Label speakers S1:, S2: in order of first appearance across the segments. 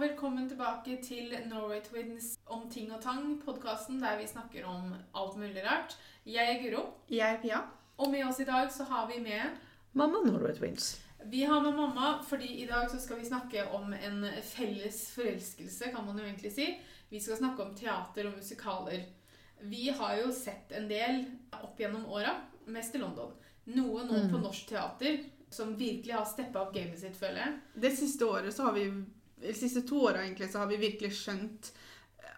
S1: velkommen tilbake til Norway Twins om ting og tang, podkasten der vi snakker om alt mulig rart. Jeg er Guro,
S2: Jeg er Pia.
S1: og med oss i dag så har vi med
S2: Mamma Norway Twins.
S1: Vi har med mamma, fordi i dag så skal vi snakke om en felles forelskelse, kan man jo egentlig si. Vi skal snakke om teater og musikaler. Vi har jo sett en del opp gjennom åra, mest i London. Noe nå på norsk teater som virkelig har steppa opp gamet sitt, føler jeg.
S3: Det siste året så har vi De siste to åra egentlig så har vi virkelig skjønt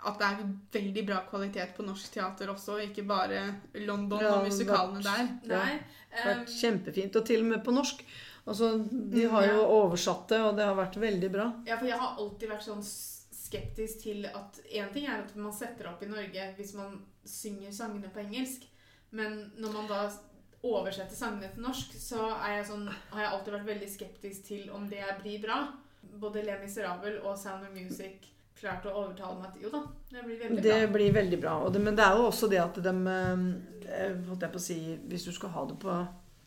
S3: at det er veldig bra kvalitet på norsk teater også, ikke bare London
S2: Ja,
S3: og musikalene der.
S2: Ja,
S1: Nei.
S2: Det har
S1: ehm,
S2: vært kjempefint, og til og med på norsk. Altså, De har jo
S1: ja.
S2: oversatt det, og det har vært veldig bra.
S1: Ja, for jeg har alltid vært sånn s- skeptisk til at En ting er at man setter opp i Norge hvis man synger sangene på engelsk, men når man da s- oversetter sangene til norsk, så er jeg sånn, har jeg alltid vært veldig skeptisk til om det blir bra. Både Le Miserable og Sound of Music klarte å overtale meg til Jo da, det blir veldig
S2: Det
S1: bra.
S2: blir veldig bra. Og det, men det er jo også det at de Holdt jeg på å si Hvis du skal ha det på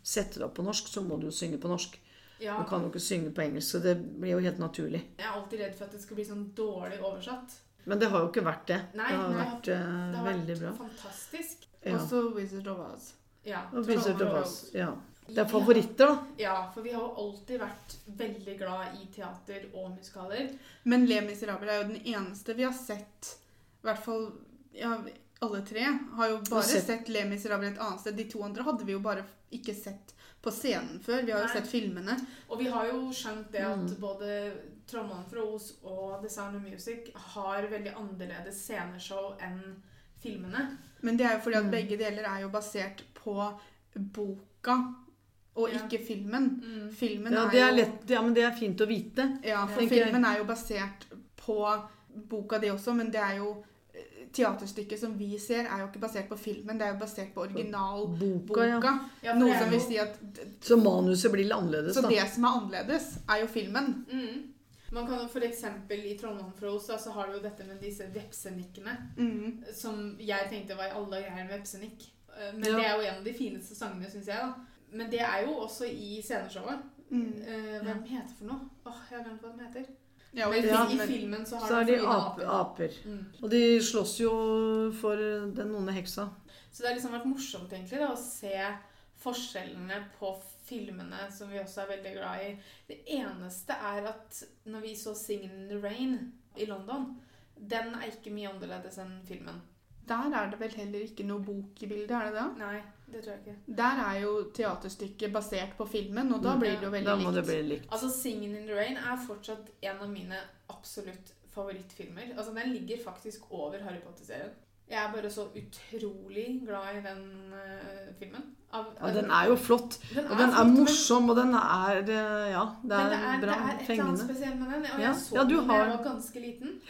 S2: sette det opp på norsk, så må du jo synge på norsk.
S1: Ja,
S2: Du kan jo ikke synge på engelsk, så det blir jo helt naturlig.
S1: jeg er alltid redd for at det skal bli sånn dårlig oversatt.
S2: Men det har jo ikke vært det.
S1: Nei,
S2: det har
S1: nei,
S2: vært eh,
S1: Det har
S2: veldig bra.
S1: vært fantastisk.
S2: Ja.
S3: Også Wizard of Oz.
S1: Ja.
S2: Og Wizard of
S1: Trolls.
S2: Oz. Ja. Det er favoritter, da.
S1: Ja, for vi har jo alltid vært veldig glad i teater og musikaler.
S3: Men Le Miserable er jo den eneste vi har sett, i hvert fall ja, alle tre, har jo bare
S2: sett-
S3: sett. Le Miserable et annet sted. De to andre hadde vi jo bare ikke sett på scenen før. Vi har
S1: Nei.
S3: jo sett filmene.
S1: Og vi har jo skjønt det at
S2: Mm.
S1: både 'Trollmannen fra Os' og 'The Sound of Music' har veldig annerledes sceneshow enn filmene.
S3: Men det er jo fordi at
S2: Mm.
S3: begge deler er jo basert på boka, og
S1: Ja. Mm.
S3: ikke filmen.
S2: Mm.
S3: Filmen
S2: Ja,
S3: er,
S2: det er
S3: jo,
S2: lett, ja, men det er fint å vite.
S3: Ja, for
S2: tenker jeg.
S3: filmen er jo basert på boka det også, men det er jo eh, Teaterstykket som vi ser, er jo ikke basert på filmen, det er jo basert på originalboka.
S2: Boka, ja.
S1: Ja, for det
S3: Noe
S1: er
S3: som
S1: jo-
S3: vil si at
S2: Så manuset blir litt annerledes,
S3: Så
S2: da.
S3: det som er annerledes, er jo filmen.
S1: mm. Man kan jo f.eks. i 'Trollmannen fra Os' da, så har du jo dette med disse vepsenikkene,
S2: Mm.
S1: som jeg tenkte var i alle greier en vepsenikk. Eh, Men
S2: Ja.
S1: det er jo en av de fineste sangene, syns jeg. da. Men det er jo også i sceneshowet.
S3: Mm.
S1: Eh, hva den heter for noe? Åh, Jeg har glemt hva den heter.
S3: Ja, og
S1: Men
S2: Ja,
S1: i
S3: filmen-
S1: filmen så har
S2: Så er de
S1: flyvende
S2: ap aper.
S1: Mm.
S2: Og de slåss jo for den onde heksa.
S1: Så det har liksom vært morsomt egentlig da, å se forskjellene på filmene, som vi også er veldig glad i. Det eneste er at når vi så 'Singin' in the Rain' i London, den er ikke mye annerledes enn filmen.
S3: Der er det vel heller ikke noe bok i bildet, er det det?
S1: Nei, det tror jeg ikke.
S3: Der er jo teaterstykket basert på filmen, og da
S2: Mm.
S3: blir det jo veldig
S2: Da må det
S3: likt.
S2: bli likt.
S1: Altså, 'Singin' in the Rain' er fortsatt en av mine absolutt favorittfilmer. Altså, den ligger faktisk over Harry Potter-serien. Jeg er bare så utrolig glad i den eh, filmen. Av-
S2: Ja, den er jo flott.
S1: Den
S2: Og den er
S1: flott, men-
S2: morsom, og den er eh, Ja, det
S1: Men
S2: er,
S1: det er,
S2: bra.
S1: det er et eller annet
S2: Fengende.
S1: spesielt med den. Og
S2: Ja,
S1: jeg så
S2: ja, du
S1: den da jeg
S2: har-
S1: var ganske liten.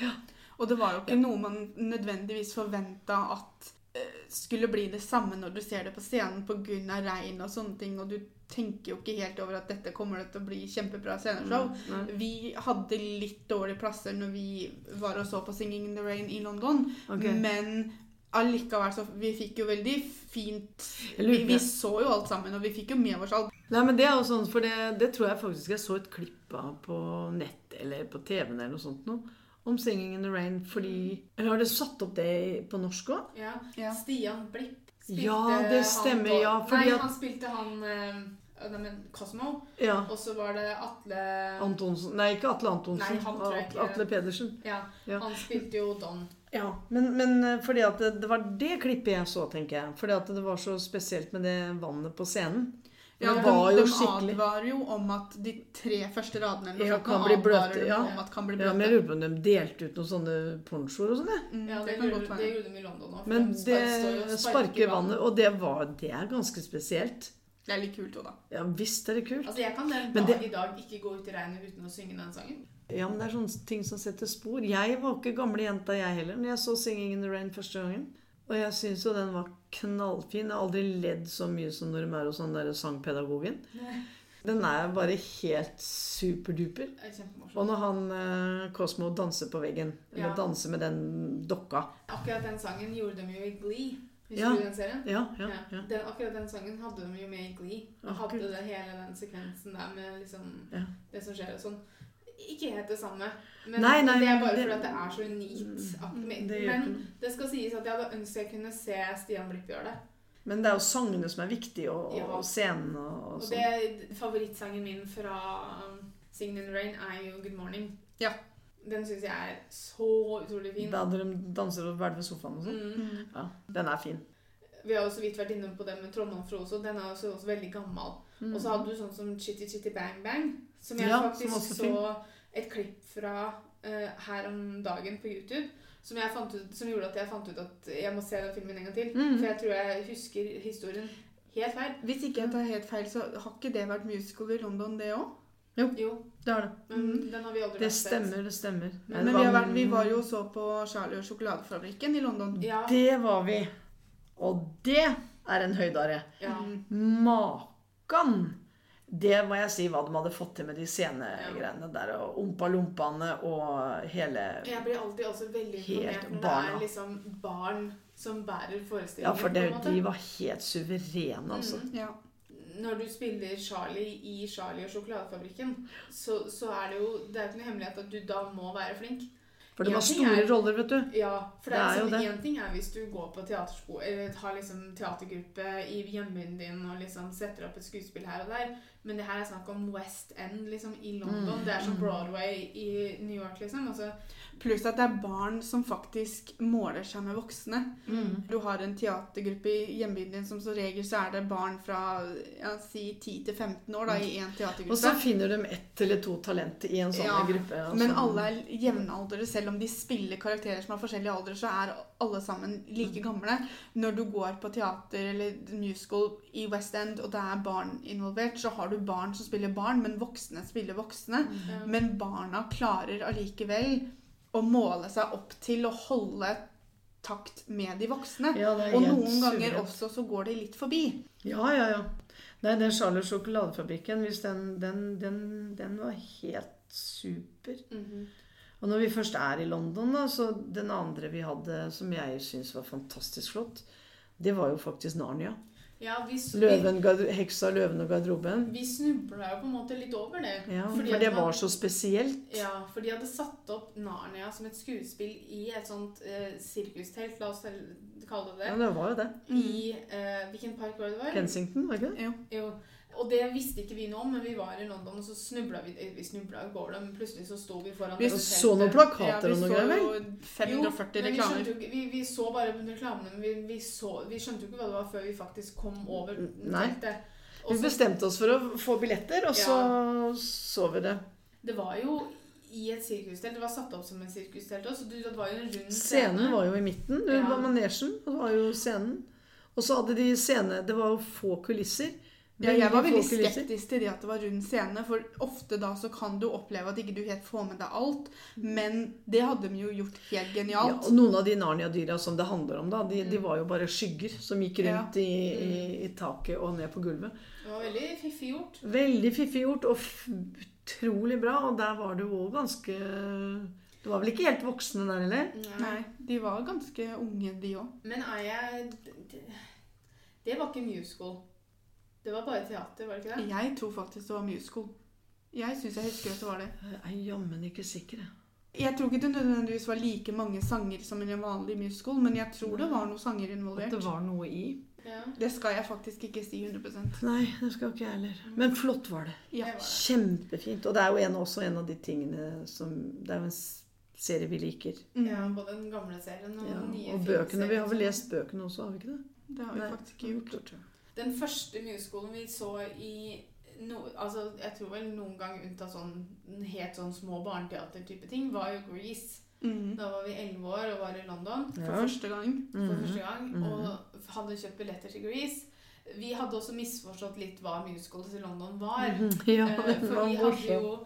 S3: Og det var jo ikke noe man nødvendigvis forventa at eh, skulle bli det samme når du ser det på scenen pga. regn og sånne ting, og du tenker jo ikke helt over at dette kommer det til å bli kjempebra sceneshow.
S2: Mm. Nei.
S3: Vi hadde litt dårlige plasser når vi var og så på 'Singing in the Rain' i London,
S2: Ok.
S3: men allikevel så Vi fikk jo veldig fint
S2: Jeg
S3: vi,
S2: lurer
S3: vi
S2: på-
S3: så jo alt sammen, og vi fikk jo med oss alt.
S2: Nei, men det er jo sånn, for det, det tror jeg faktisk jeg så et klipp av på nett eller på TV-en eller noe sånt noe. Om 'Singing in the Rain' fordi Eller har du satt opp det i- på norsk òg?
S1: Ja.
S3: Ja.
S1: Stian Blipp
S2: Ja, det stemmer,
S1: han,
S2: ja, fordi
S1: Nei,
S2: at-
S1: han spilte han eh, nei, men Cosmo.
S2: Ja.
S1: Og så var det Atle
S2: Antonsen Nei, ikke Atle Antonsen.
S1: Nei, han tror jeg ikke.
S2: Atle Pedersen.
S1: ja,
S2: Ja.
S1: Han spilte jo Don.
S2: Ja, men, men eh, fordi at det, det var det klippet jeg så, tenker jeg. Fordi at det var så spesielt med det vannet på scenen.
S3: Ja,
S2: det
S3: de,
S2: var jo
S3: de
S2: skikkelig
S3: advarer jo om at de tre første radene eller noe
S2: Ja,
S3: sånt,
S2: kan
S3: nå
S2: bli
S3: advarer
S2: bløte,
S3: de
S2: ja.
S3: om at kan bli
S2: ja,
S3: bløte.
S2: men Jeg lurer på om de delte ut noen sånne ponchoer og sånn. jeg.
S3: Mm,
S1: Ja,
S3: det
S1: det,
S3: kan
S1: gjorde,
S3: godt være.
S1: det gjorde de i London òg.
S2: Men det sparker vannet, og det, var, det er ganske spesielt.
S3: Det er litt kult òg, da.
S2: Ja visst er det kult.
S1: Altså, jeg kan den
S2: Men
S1: dag
S2: det-
S1: i dag ikke gå ut i regnet uten å synge den sangen.
S2: Ja, men det er sånne ting som setter spor. Jeg var ikke gamle jenta, jeg heller, når jeg så 'Singing in the Rain' første gangen. Og jeg syns jo den var knallfin. Jeg har aldri ledd så mye som når de er hos den derre sangpedagogen.
S1: Nei.
S2: Den er bare helt superduper.
S1: Det er kjempemorsomt.
S2: Og når han eh, Cosmo danser på veggen, eller
S1: Ja.
S2: danser med den dokka
S1: Akkurat den sangen gjorde de jo i Glee. Husker
S2: Ja.
S1: du den serien?
S2: Ja, ja,
S1: Ja.
S2: ja.
S1: Den, akkurat den sangen hadde de jo med i Glee. Og
S2: Å,
S1: hadde
S2: Gud.
S1: det hele den sekvensen der med liksom
S2: Ja.
S1: det som skjer og sånn. ikke helt det samme. Men
S2: Nei, nei,
S1: det er
S2: men
S1: bare
S2: det- Mm,
S1: fordi at det er så unikt. at-
S2: Det
S1: Men
S2: gjør
S1: det,
S2: ikke noe.
S1: skal sies at jeg hadde ønsket jeg kunne se Stian Blipp gjøre det.
S2: Men det er jo sangene som er viktige, og,
S1: Ja.
S2: og scenen og, og
S1: Og
S2: sånn.
S1: det, favorittsangen min fra um, Singin' in the Rain er jo Good Morning.
S3: Ja.
S1: Den syns jeg er så utrolig fin.
S2: Da de danser og hvelver sofaen og sånn.
S1: Mm.
S3: Mm.
S2: Ja, den er fin.
S1: Vi har jo så vidt vært inne på det med Trollmann fra Oso. Den er også, også veldig gammel.
S2: Mm.
S1: Og så hadde du sånn som Chitty Chitty Bang Bang, som jeg
S2: Ja, som
S1: faktisk
S2: også er
S1: så
S2: fin.
S1: et klipp fra eh, her om dagen på YouTube, som, jeg fant ut, som gjorde at jeg fant ut at jeg må se den filmen en gang til.
S2: Mhm.
S1: For jeg tror jeg husker historien helt feil.
S3: Hvis ikke jeg tar helt feil, så har ikke det vært musical i London, det òg?
S1: Jo,
S2: Det har det.
S1: men
S3: Mhm.
S1: den har vi aldri
S2: Mm. Det
S1: sett.
S2: stemmer, det stemmer.
S1: Men-
S3: Men
S2: Det
S3: vi,
S2: var-
S3: har vært, vi var jo så på Charlie og sjokoladefabrikken i London.
S1: Ja,
S2: Det var vi. Og det er en høydare.
S1: ja.
S3: Mm.
S2: Makan! Det må jeg si hva de hadde fått til med de scenegreiene der. Og ompa-lompaene og hele
S1: Jeg blir alltid også veldig
S2: Helt
S1: imponert når det
S2: barna.
S1: er liksom barn som bærer
S2: Ja,
S1: forestillingen.
S2: for
S1: på
S2: det,
S1: en måte.
S2: de var helt suverene, altså.
S1: Mhm.
S3: Ja.
S1: Når du spiller Charlie i Charlie og sjokoladefabrikken, så, så er det jo det er ikke noe hemmelighet at du da må være flink.
S2: For det
S1: Ja,
S2: var
S1: ting
S2: store
S1: er-
S2: roller, vet du.
S1: Ja, for det
S2: Det
S1: er,
S2: er jo
S1: liksom,
S2: det.
S1: en ting er hvis du går på teatersko, eller har liksom teatergruppe i hjembyen din og liksom setter opp et skuespill her og der, men det her er snakk om West End liksom i London.
S2: Mm,
S1: Det er som
S2: mm.
S1: Broadway i New York, liksom. Altså,
S3: Pluss at det er barn som faktisk måler seg med voksne. Du har en teatergruppe i hjembyen din som som regel så er det barn fra ja, si 10 til 15 år da, i én
S2: Og så
S3: teatergruppe.
S2: finner de ett eller to talenter i en sånn
S3: Ja,
S2: gruppe. altså.
S3: Men alle er jevnaldrende. Selv om de spiller karakterer som har forskjellig alder, så er alle sammen
S2: Mm.
S3: like gamle. Når du går på teater eller musical i West End, og det er barn involvert, så har du barn som spiller barn, men voksne spiller voksne.
S2: Mm.
S1: ja.
S3: Men barna klarer allikevel å måle seg opp til å holde takt med de voksne.
S2: ja, det er
S3: Og
S2: helt
S3: noen ganger
S2: suverent.
S3: også så går de litt forbi.
S2: Ja, ja, ja. Nei, den Charlotte sjokoladefabrikken, hvis den, den, den, den var helt super.
S1: mhm.
S2: Og når vi først er i London, da, så den andre vi hadde som jeg syns var fantastisk flott, det var jo faktisk Narnia.
S1: ja vi, s- vi,
S2: Løven, garde- heksa, løven og garderoben.
S1: vi snubla jo på en måte litt over det.
S2: Ja,
S1: Fordi
S2: for
S1: at
S2: det
S1: man-
S2: var så spesielt.
S1: Ja, for de hadde satt opp Narnia som et skuespill i et sånt eh, sirkustelt, la oss kalle det
S2: Ja,
S1: det,
S2: det var jo det.
S1: i eh, Hvilken park var det det var?
S2: Kensington, var ikke det?
S3: Jo.
S1: Jo. Og det visste ikke vi nå, men vi var i London, og så snubla vi eh, Vi snubla i går, da, men plutselig så sto vi foran
S3: Vi
S1: det
S2: Og
S1: teltet.
S2: så noen plakater
S3: vi
S2: og noe
S3: så
S2: greier, vel?
S3: jo 540
S1: men vi, skjønte
S3: reklamer.
S1: jo ikke, vi, vi så bare på reklamene, men vi, vi, så, vi skjønte jo ikke hva det var før vi faktisk kom over
S2: Nei.
S1: teltet. Og
S2: Vi
S1: så-
S2: bestemte oss for å få billetter, og så så vi det.
S1: det var jo i et sirkustelt. Det var satt opp som en sirkustelt også, så du- det var jo en rund scene.
S2: Scenen var jo i midten. Det
S1: Ja.
S2: var manesjen. Det var jo scenen. Og så hadde de scene Det var jo få kulisser.
S3: Ja, jeg var
S2: få
S3: veldig
S2: kulisser.
S3: skeptisk til det at det var rund scene, for ofte da så kan du oppleve at ikke du helt får med deg alt, men det hadde de jo gjort helt
S2: Ja, Mm.
S3: genialt.
S2: og noen av de Narnia-dyra som det handler om, da, de, de var jo bare skygger som gikk rundt i, i, i taket og ned på gulvet.
S1: Det var veldig fiffig gjort.
S2: Veldig fiffig gjort og f utrolig bra. Og der var det jo òg ganske Det var vel ikke helt voksne der heller?
S1: Nei.
S3: Nei, de var ganske unge de òg.
S1: Men er jeg det, det var ikke musical. Det var bare teater, var det ikke det?
S3: Jeg tror faktisk det var musical. Jeg syns jeg husker at det var det.
S2: Jeg er jammen ikke sikker, jeg.
S3: Jeg tror ikke det nødvendigvis var like mange sanger som i en vanlig musical, men jeg tror det var noen sanger
S2: At det
S3: involvert.
S2: var noe i.
S1: Ja.
S3: Det skal jeg faktisk ikke si 100
S2: Nei, det skal ikke jeg heller. Men flott var det.
S3: Ja.
S1: Det var det.
S2: Mm. Kjempefint. Og det er jo en, også en av de tingene som Det er jo en s- serie vi liker.
S1: Ja,
S3: Mm.
S1: både den gamle serien og
S2: Ja,
S1: den nye
S2: og bøkene. Vi har vel
S1: filmserien.
S2: lest bøkene også, har vi ikke det?
S3: Det har vi
S2: Nei.
S3: faktisk ikke gjort.
S1: Den første musicalen vi så i no, altså Jeg tror vel noen gang unntatt sånn helt sånn små barneteater-type ting, var jo Grease.
S3: Mm.
S1: Da var vi 11 år og var i London
S3: For første gang.
S1: for
S2: Mhm.
S1: første gang
S2: Mhm.
S1: og hadde kjøpt billetter til Grease. Vi hadde også misforstått litt hva musicals i London var.
S2: Mhm. Ja,
S1: Eh,
S2: det
S1: for
S2: var
S1: vi hadde,
S2: morsomt.
S1: jo,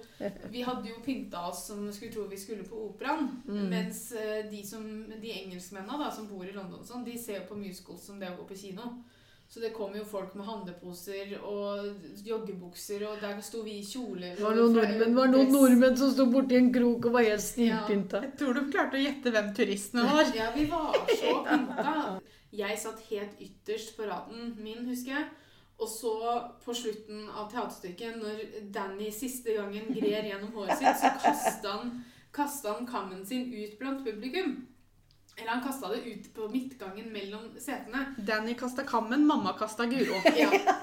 S1: vi hadde jo pynta oss som skulle tro vi skulle på operaen.
S2: Mm.
S1: Mens eh, de, som, de engelskmennene da, som bor i London, og sånn, de ser jo på musicals som det å gå på kino. Så det kom jo folk med handleposer og joggebukser, og der sto vi i kjoler.
S2: Det var noen
S1: fra
S2: nordmenn, var noen
S1: Europress.
S2: nordmenn som sto borti en krok og var helt stivpynta.
S3: Jeg tror du klarte å gjette hvem turistene var.
S1: Ja, vi var så pynta. Jeg satt helt ytterst på raden min, husker jeg. Og så på slutten av teaterstykket, når Danny siste gangen grer gjennom håret sitt, så kasta han, kastet han kammen sin ut blant publikum. Eller han kasta det ut på midtgangen mellom setene.
S3: Danny kasta kammen, mamma kasta Guro.
S1: Ja.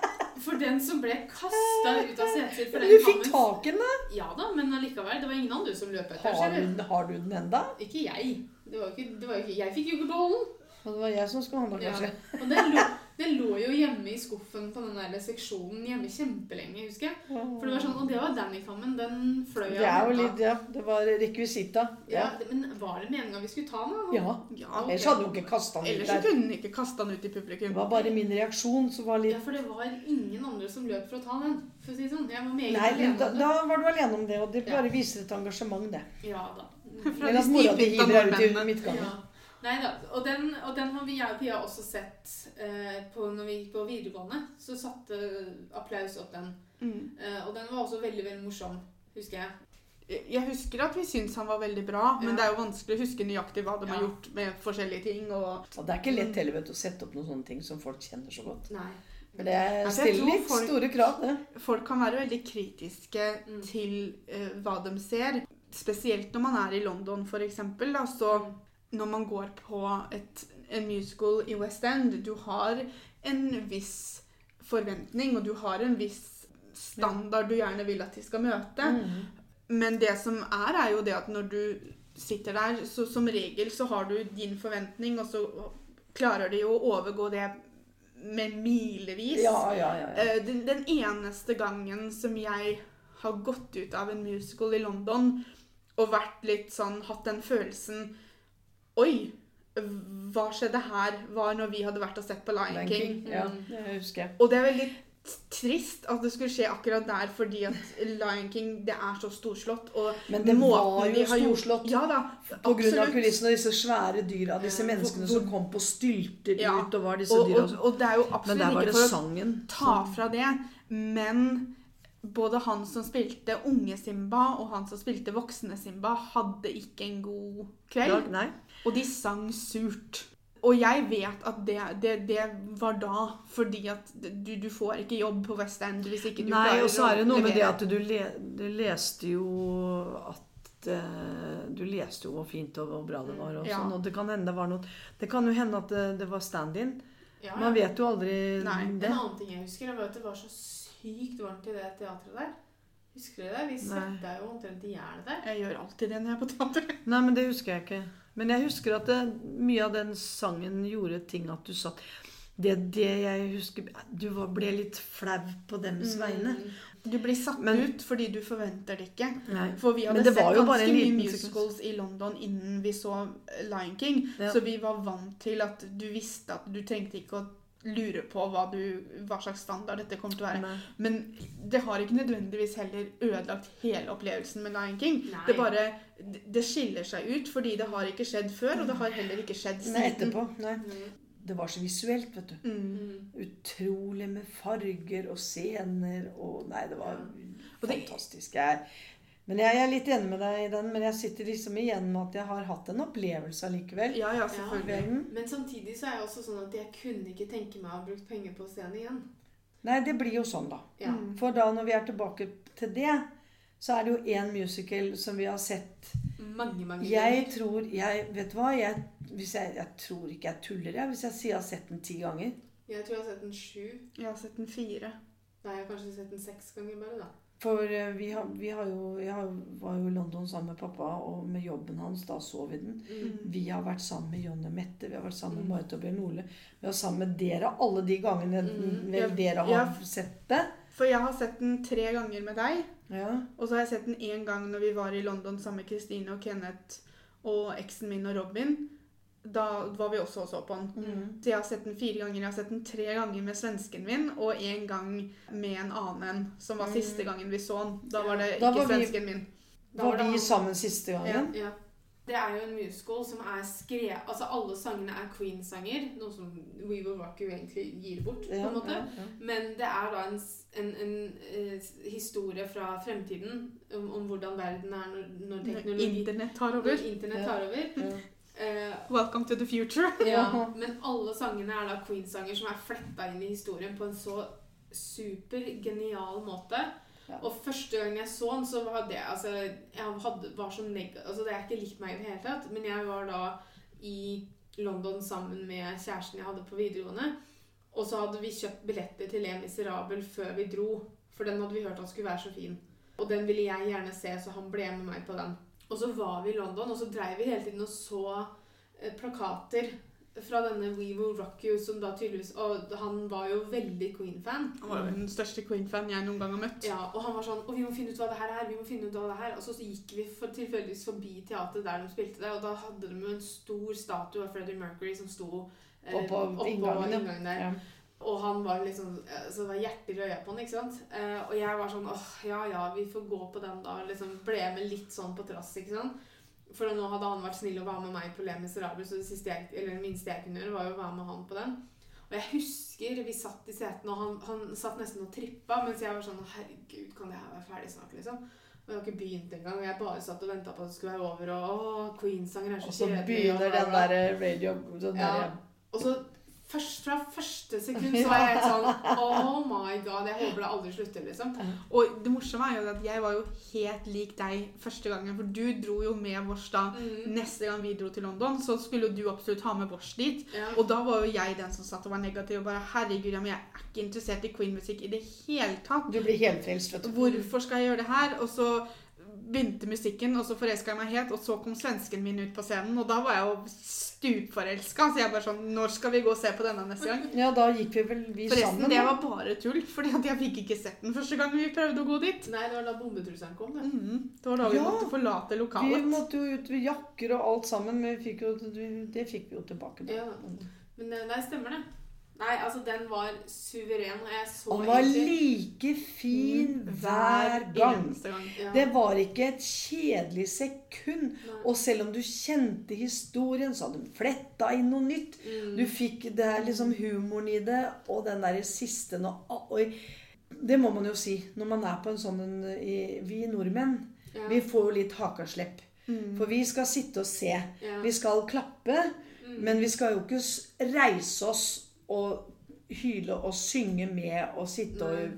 S1: For den som ble kasta ut av setet sitt for
S2: Men du
S1: den
S2: fikk
S1: kammen
S2: tak i den! da.
S1: Ja da, men allikevel. Det var ingen andre som løp etter.
S2: Har,
S1: Har
S2: du- har du den enda?
S1: Ikke jeg. Det var jo ikke, det var jo ikke, jeg fikk jo ikke beholde den.
S2: Og det var jeg som skulle handle,
S1: Ja.
S2: kanskje.
S1: Og den lå, den lå jo hjemme i skuffen på den der seksjonen hjemme kjempelenge, husker jeg. For det var sånn, Og det var Danny-kammen. Den fløy
S2: Det er
S1: av
S2: jo
S1: handa.
S2: litt, ja. Det var rekvisita.
S1: Ja,
S2: Ja.
S1: men var det meninga vi skulle ta den? da?
S2: ja.
S3: Ja,
S1: Ok.
S2: Ellers hadde hun ikke kasta den
S3: Ellers
S2: ut
S3: så
S2: der.
S3: kunne hun ikke kasta den ut i
S2: Det
S3: publikum.
S2: var bare min reaksjon som var
S1: Ja,
S2: litt
S1: for det var ingen andre som løp for å ta den. For å si det sånn. Jeg var meget
S2: Nei,
S1: alene om
S2: da,
S1: det.
S2: da var du alene om det, og det bare viser et engasjement, det.
S1: Ja da.
S3: Fra
S2: Men
S3: de
S2: at mora di
S3: stivpikka
S2: hiver deg ut i
S3: nordmennene.
S2: midtgangen.
S1: Ja. Nei da. Og den, og den har vi, jeg og Pia også sett eh, på når vi gikk på videregående. Så satte applaus opp den.
S3: Mm.
S1: Eh, og den var også veldig, veldig morsom, husker jeg.
S3: Jeg husker at vi syns han var veldig bra, men
S1: Ja.
S3: det er jo vanskelig å huske nøyaktig hva de har
S1: Ja.
S3: gjort med forskjellige ting. Og
S2: Og det er ikke lett heller vet du, å sette opp noen sånne ting som folk kjenner så godt.
S1: Nei.
S2: For det
S3: jeg
S1: Altså,
S2: stiller
S3: tror
S2: litt
S3: folk-
S2: store krav, det.
S3: folk kan være veldig kritiske
S1: Mm.
S3: til eh, hva de ser. Spesielt når man er i London, for eksempel. Da, så
S1: Mm.
S3: når man går på et, en musical i West End, du har en viss forventning, og du har en viss standard du gjerne vil at de skal møte.
S2: Mm.
S3: Men det som er, er jo det at når du sitter der, så som regel så har du din forventning, og så klarer de jo å overgå det med milevis.
S2: Ja, ja, ja. ja.
S3: Eh, Den, den eneste gangen som jeg har gått ut av en musical i London og vært litt sånn, hatt den følelsen Oi, hva skjedde her? Var når vi hadde vært og sett på Lion
S2: Lion
S3: King. mm.
S2: King. Ja, det husker jeg.
S3: Og det er veldig trist at det skulle skje akkurat der, fordi at Lion King det er så storslått. Og
S2: Men det
S3: måten
S2: var
S3: de
S2: jo
S3: har gjort-
S2: storslått.
S3: Ja da,
S2: På grunn av
S3: absolutt.
S2: kulissene og disse svære dyra, disse
S1: Ja,
S2: menneskene
S3: hvor-
S2: som kom på stylter
S3: Ja.
S2: ut og var disse
S3: Og,
S2: dyra.
S3: og, og det er jo
S2: Men
S3: absolutt
S2: der var
S3: ikke
S2: det
S3: for å
S2: sangen.
S3: ta fra det, men både han som spilte unge Simba og han som spilte voksne Simba, hadde ikke en god
S2: Ja,
S3: kveld.
S2: Nei.
S3: Og de sang surt. Og jeg vet at det, det, det var da, fordi at du, du får ikke jobb på West End hvis ikke du
S2: Nei,
S3: klarer
S2: og så er det noe med det
S3: levere.
S2: at du, le, du leste jo at eh, Du leste jo hvor fint og hvor bra det var, og
S3: Ja.
S2: sånn, og det kan hende det var noe Det kan jo hende at det, det var stand-in.
S1: Ja,
S2: Man vet jo aldri
S3: Nei,
S1: En
S2: det.
S1: annen ting jeg husker, det var at det var så sykt varmt i det teatret der. Husker dere det? Vi
S2: Nei.
S1: svetta jo omtrent i hjel der.
S3: Jeg gjør alltid det når jeg er på teater.
S2: Nei, men det husker jeg ikke. Men jeg husker at det, mye av den sangen gjorde ting at du satt Det, det jeg husker Du var, ble litt flau på dems vegne.
S1: Mm.
S3: Du blir satt
S2: Men-
S3: ut fordi du forventer det ikke.
S2: Nei.
S3: For vi hadde
S2: Men det
S3: sett
S2: var jo bare
S3: ganske
S2: en
S3: mye
S2: liten sekvens.
S3: musicals i London innen vi så eh, Lion King,
S2: Ja.
S3: så vi var vant til at du visste at du trengte ikke å lure på hva, du, hva slags standard dette kom til å være.
S2: Nei.
S3: Men det har ikke nødvendigvis heller ødelagt hele opplevelsen med Lion King.
S1: Nei.
S3: Det bare det skiller seg ut fordi det har ikke skjedd før, og det har heller ikke skjedd
S2: Nei,
S3: siden.
S2: etterpå. Nei.
S1: Mm.
S2: Det var så visuelt, vet du.
S3: Mm.
S1: Mm.
S2: Utrolig med farger og scener og Nei, det var
S3: Og det-
S2: fantastisk. Jeg, men jeg, jeg er litt enig med deg i den, men jeg sitter liksom igjen med at jeg har hatt en opplevelse allikevel.
S3: Ja, ja, selvfølgelig.
S2: Kvelden.
S1: Men samtidig så er jeg også sånn at jeg kunne ikke tenke meg å ha brukt penger på scenen igjen.
S2: Nei, det blir jo sånn, da.
S1: Ja.
S3: Mm.
S2: For da når vi er tilbake til det, så er det jo én musical som vi har sett
S1: Mange, mange
S2: Jeg
S1: ganger.
S2: tror jeg, Vet du hva? Jeg, hvis jeg, jeg tror ikke jeg tuller, jeg, hvis jeg sier jeg har sett den ti ganger.
S1: Jeg tror jeg har sett den sju.
S3: Jeg har sett den fire.
S1: Nei, jeg har kanskje sett den seks ganger bare, da.
S2: For eh, vi har, vi har jo Jeg har, var jo i London sammen med pappa, og med jobben hans, da så vi den. Vi har vært sammen med Jonny Mette, vi har vært sammen med Marit og Bjørn Ole. Vi har vært sammen med dere alle de gangene
S1: Mm.
S2: vel
S3: Jeg-
S2: dere har
S3: jeg-
S2: sett det.
S3: For jeg har sett den tre ganger med deg.
S2: Ja.
S3: Og så har jeg sett den én gang når vi var i London sammen med Kristine og Kenneth og eksen min og Robin. Da var vi også og så på den.
S2: Mm.
S3: Så jeg har sett den fire ganger. Jeg har sett den tre ganger med svensken min, og én gang med en annen en, som var siste gangen vi så den. Da var det
S2: Da
S3: ikke
S2: var vi-
S3: svensken min.
S1: Da
S2: Var
S1: det
S2: vi
S1: han-
S2: sammen siste gangen?
S1: Ja. Det er jo en musical som er skrevet Altså, alle sangene er Queen-sanger, noe som We Will Rock You egentlig gir bort, på en måte.
S2: ja.
S1: Men det er da en, s- en, en eh, historie fra fremtiden om, om hvordan verden er når, når teknologi
S3: Internett tar over.
S1: Når internett tar over.
S2: Ja.
S1: Eh,
S3: Welcome to the future.
S1: Ja, men alle sangene er da Queen-sanger som er fletta inn i historien på en så supergenial måte.
S3: Ja.
S1: Og første gang jeg så den, så var det altså, Jeg hadde, var så neg... Altså, det er ikke likt meg i det hele tatt, men jeg var da i London sammen med kjæresten jeg hadde på videregående. Og så hadde vi kjøpt billetter til Le Miserable før vi dro, for den hadde vi hørt at skulle være så fin. Og den ville jeg gjerne se, så han ble med meg på den. Og så var vi i London, og så dreiv vi hele tiden og så eh, plakater fra denne We Will Rock You, som da tydeligvis Og han var jo veldig Queen-fan.
S3: Han var jo den største Queen-fan jeg noen gang har møtt.
S1: Ja, og han var sånn Og vi må finne ut hva det her er. vi må finne ut hva det her er». Og så gikk vi for, tilfeldigvis forbi teatret der de spilte det, og da hadde de jo en stor statue av Freddie Mercury som sto eh,
S2: Oppå inngangen, ja.
S1: inngangen der.
S2: Ja.
S1: Og han var liksom eh, Så det var hjerter i øya på han, ikke sant? Eh, og jeg var sånn åh, ja ja, vi får gå på den da. Liksom ble med litt sånn på trass, ikke sant? For nå hadde han vært snill å være med meg på Le Miserable, så det, siste jeg, eller det minste jeg kunne gjøre, var jo å være med han på den. Og jeg husker vi satt i setene, og han, han satt nesten og trippa, mens jeg var sånn Herregud, kan det her være ferdig snart, liksom? Og jeg har ikke begynt engang. og Jeg bare satt og venta på at det skulle være over, og å, Queen-sanger er
S2: Og
S1: så
S2: så
S1: kjedelig, og
S2: begynner
S1: bla,
S2: den
S1: bla, bla.
S2: derre radio sånn eh, den
S1: Ja.
S2: derre-
S1: Og så først, fra første sekund så var jeg helt sånn Oh my god, jeg håper det aldri slutter, liksom.
S3: Og det morsomme er jo at jeg var jo helt lik deg første gangen, for du dro jo med vårs da.
S1: Mm.
S3: Neste gang vi dro til London, så skulle jo du absolutt ha med vårs dit.
S1: Ja.
S3: Og da var jo jeg den som satt og var negativ og bare Herregud, ja, men jeg er ikke interessert i Queen-musikk i det hele tatt.
S2: Du blir helfrelst, vet du.
S3: Hvorfor skal jeg gjøre det her? Og så begynte musikken, og så forelska jeg meg helt, og så kom svensken min ut på scenen, og da var jeg jo stupforelska. Så jeg bare sånn Når skal vi gå og se på denne neste gang?
S2: Ja, da gikk vi vel vi
S3: Forresten,
S2: sammen.
S3: det
S2: da.
S3: var bare tull, fordi at jeg fikk ikke sett den første gangen vi prøvde å gå dit.
S1: Nei, det var da bombetrusselen kom. Det.
S3: Mhm, det var da vi
S2: Ja.
S3: måtte forlate
S2: Vi
S3: lokalet.
S2: måtte jo ut med jakker og alt sammen, men vi fikk jo, det fikk vi jo tilbake. Da.
S1: Ja. Men eh, nei, stemmer det. Nei, altså, den var suveren, og jeg så
S2: Han var
S1: egentlig- Mm.
S2: like fin hver gang.
S3: eneste gang.
S1: Ja.
S2: Det var ikke et kjedelig sekund.
S1: Nei.
S2: Og selv om du kjente historien, så hadde de fletta inn noe nytt.
S1: Mm.
S2: Du fikk det er liksom humoren i det, og den derre siste nå oi. Det må man jo si. Når man er på en sånn en i- Vi nordmenn,
S1: ja.
S2: vi får jo litt hakaslepp.
S3: Mm.
S2: For vi skal sitte og se.
S1: ja.
S2: Vi skal klappe,
S1: Mm.
S2: men vi skal jo ikke s- reise oss og hyle og synge med og sitte og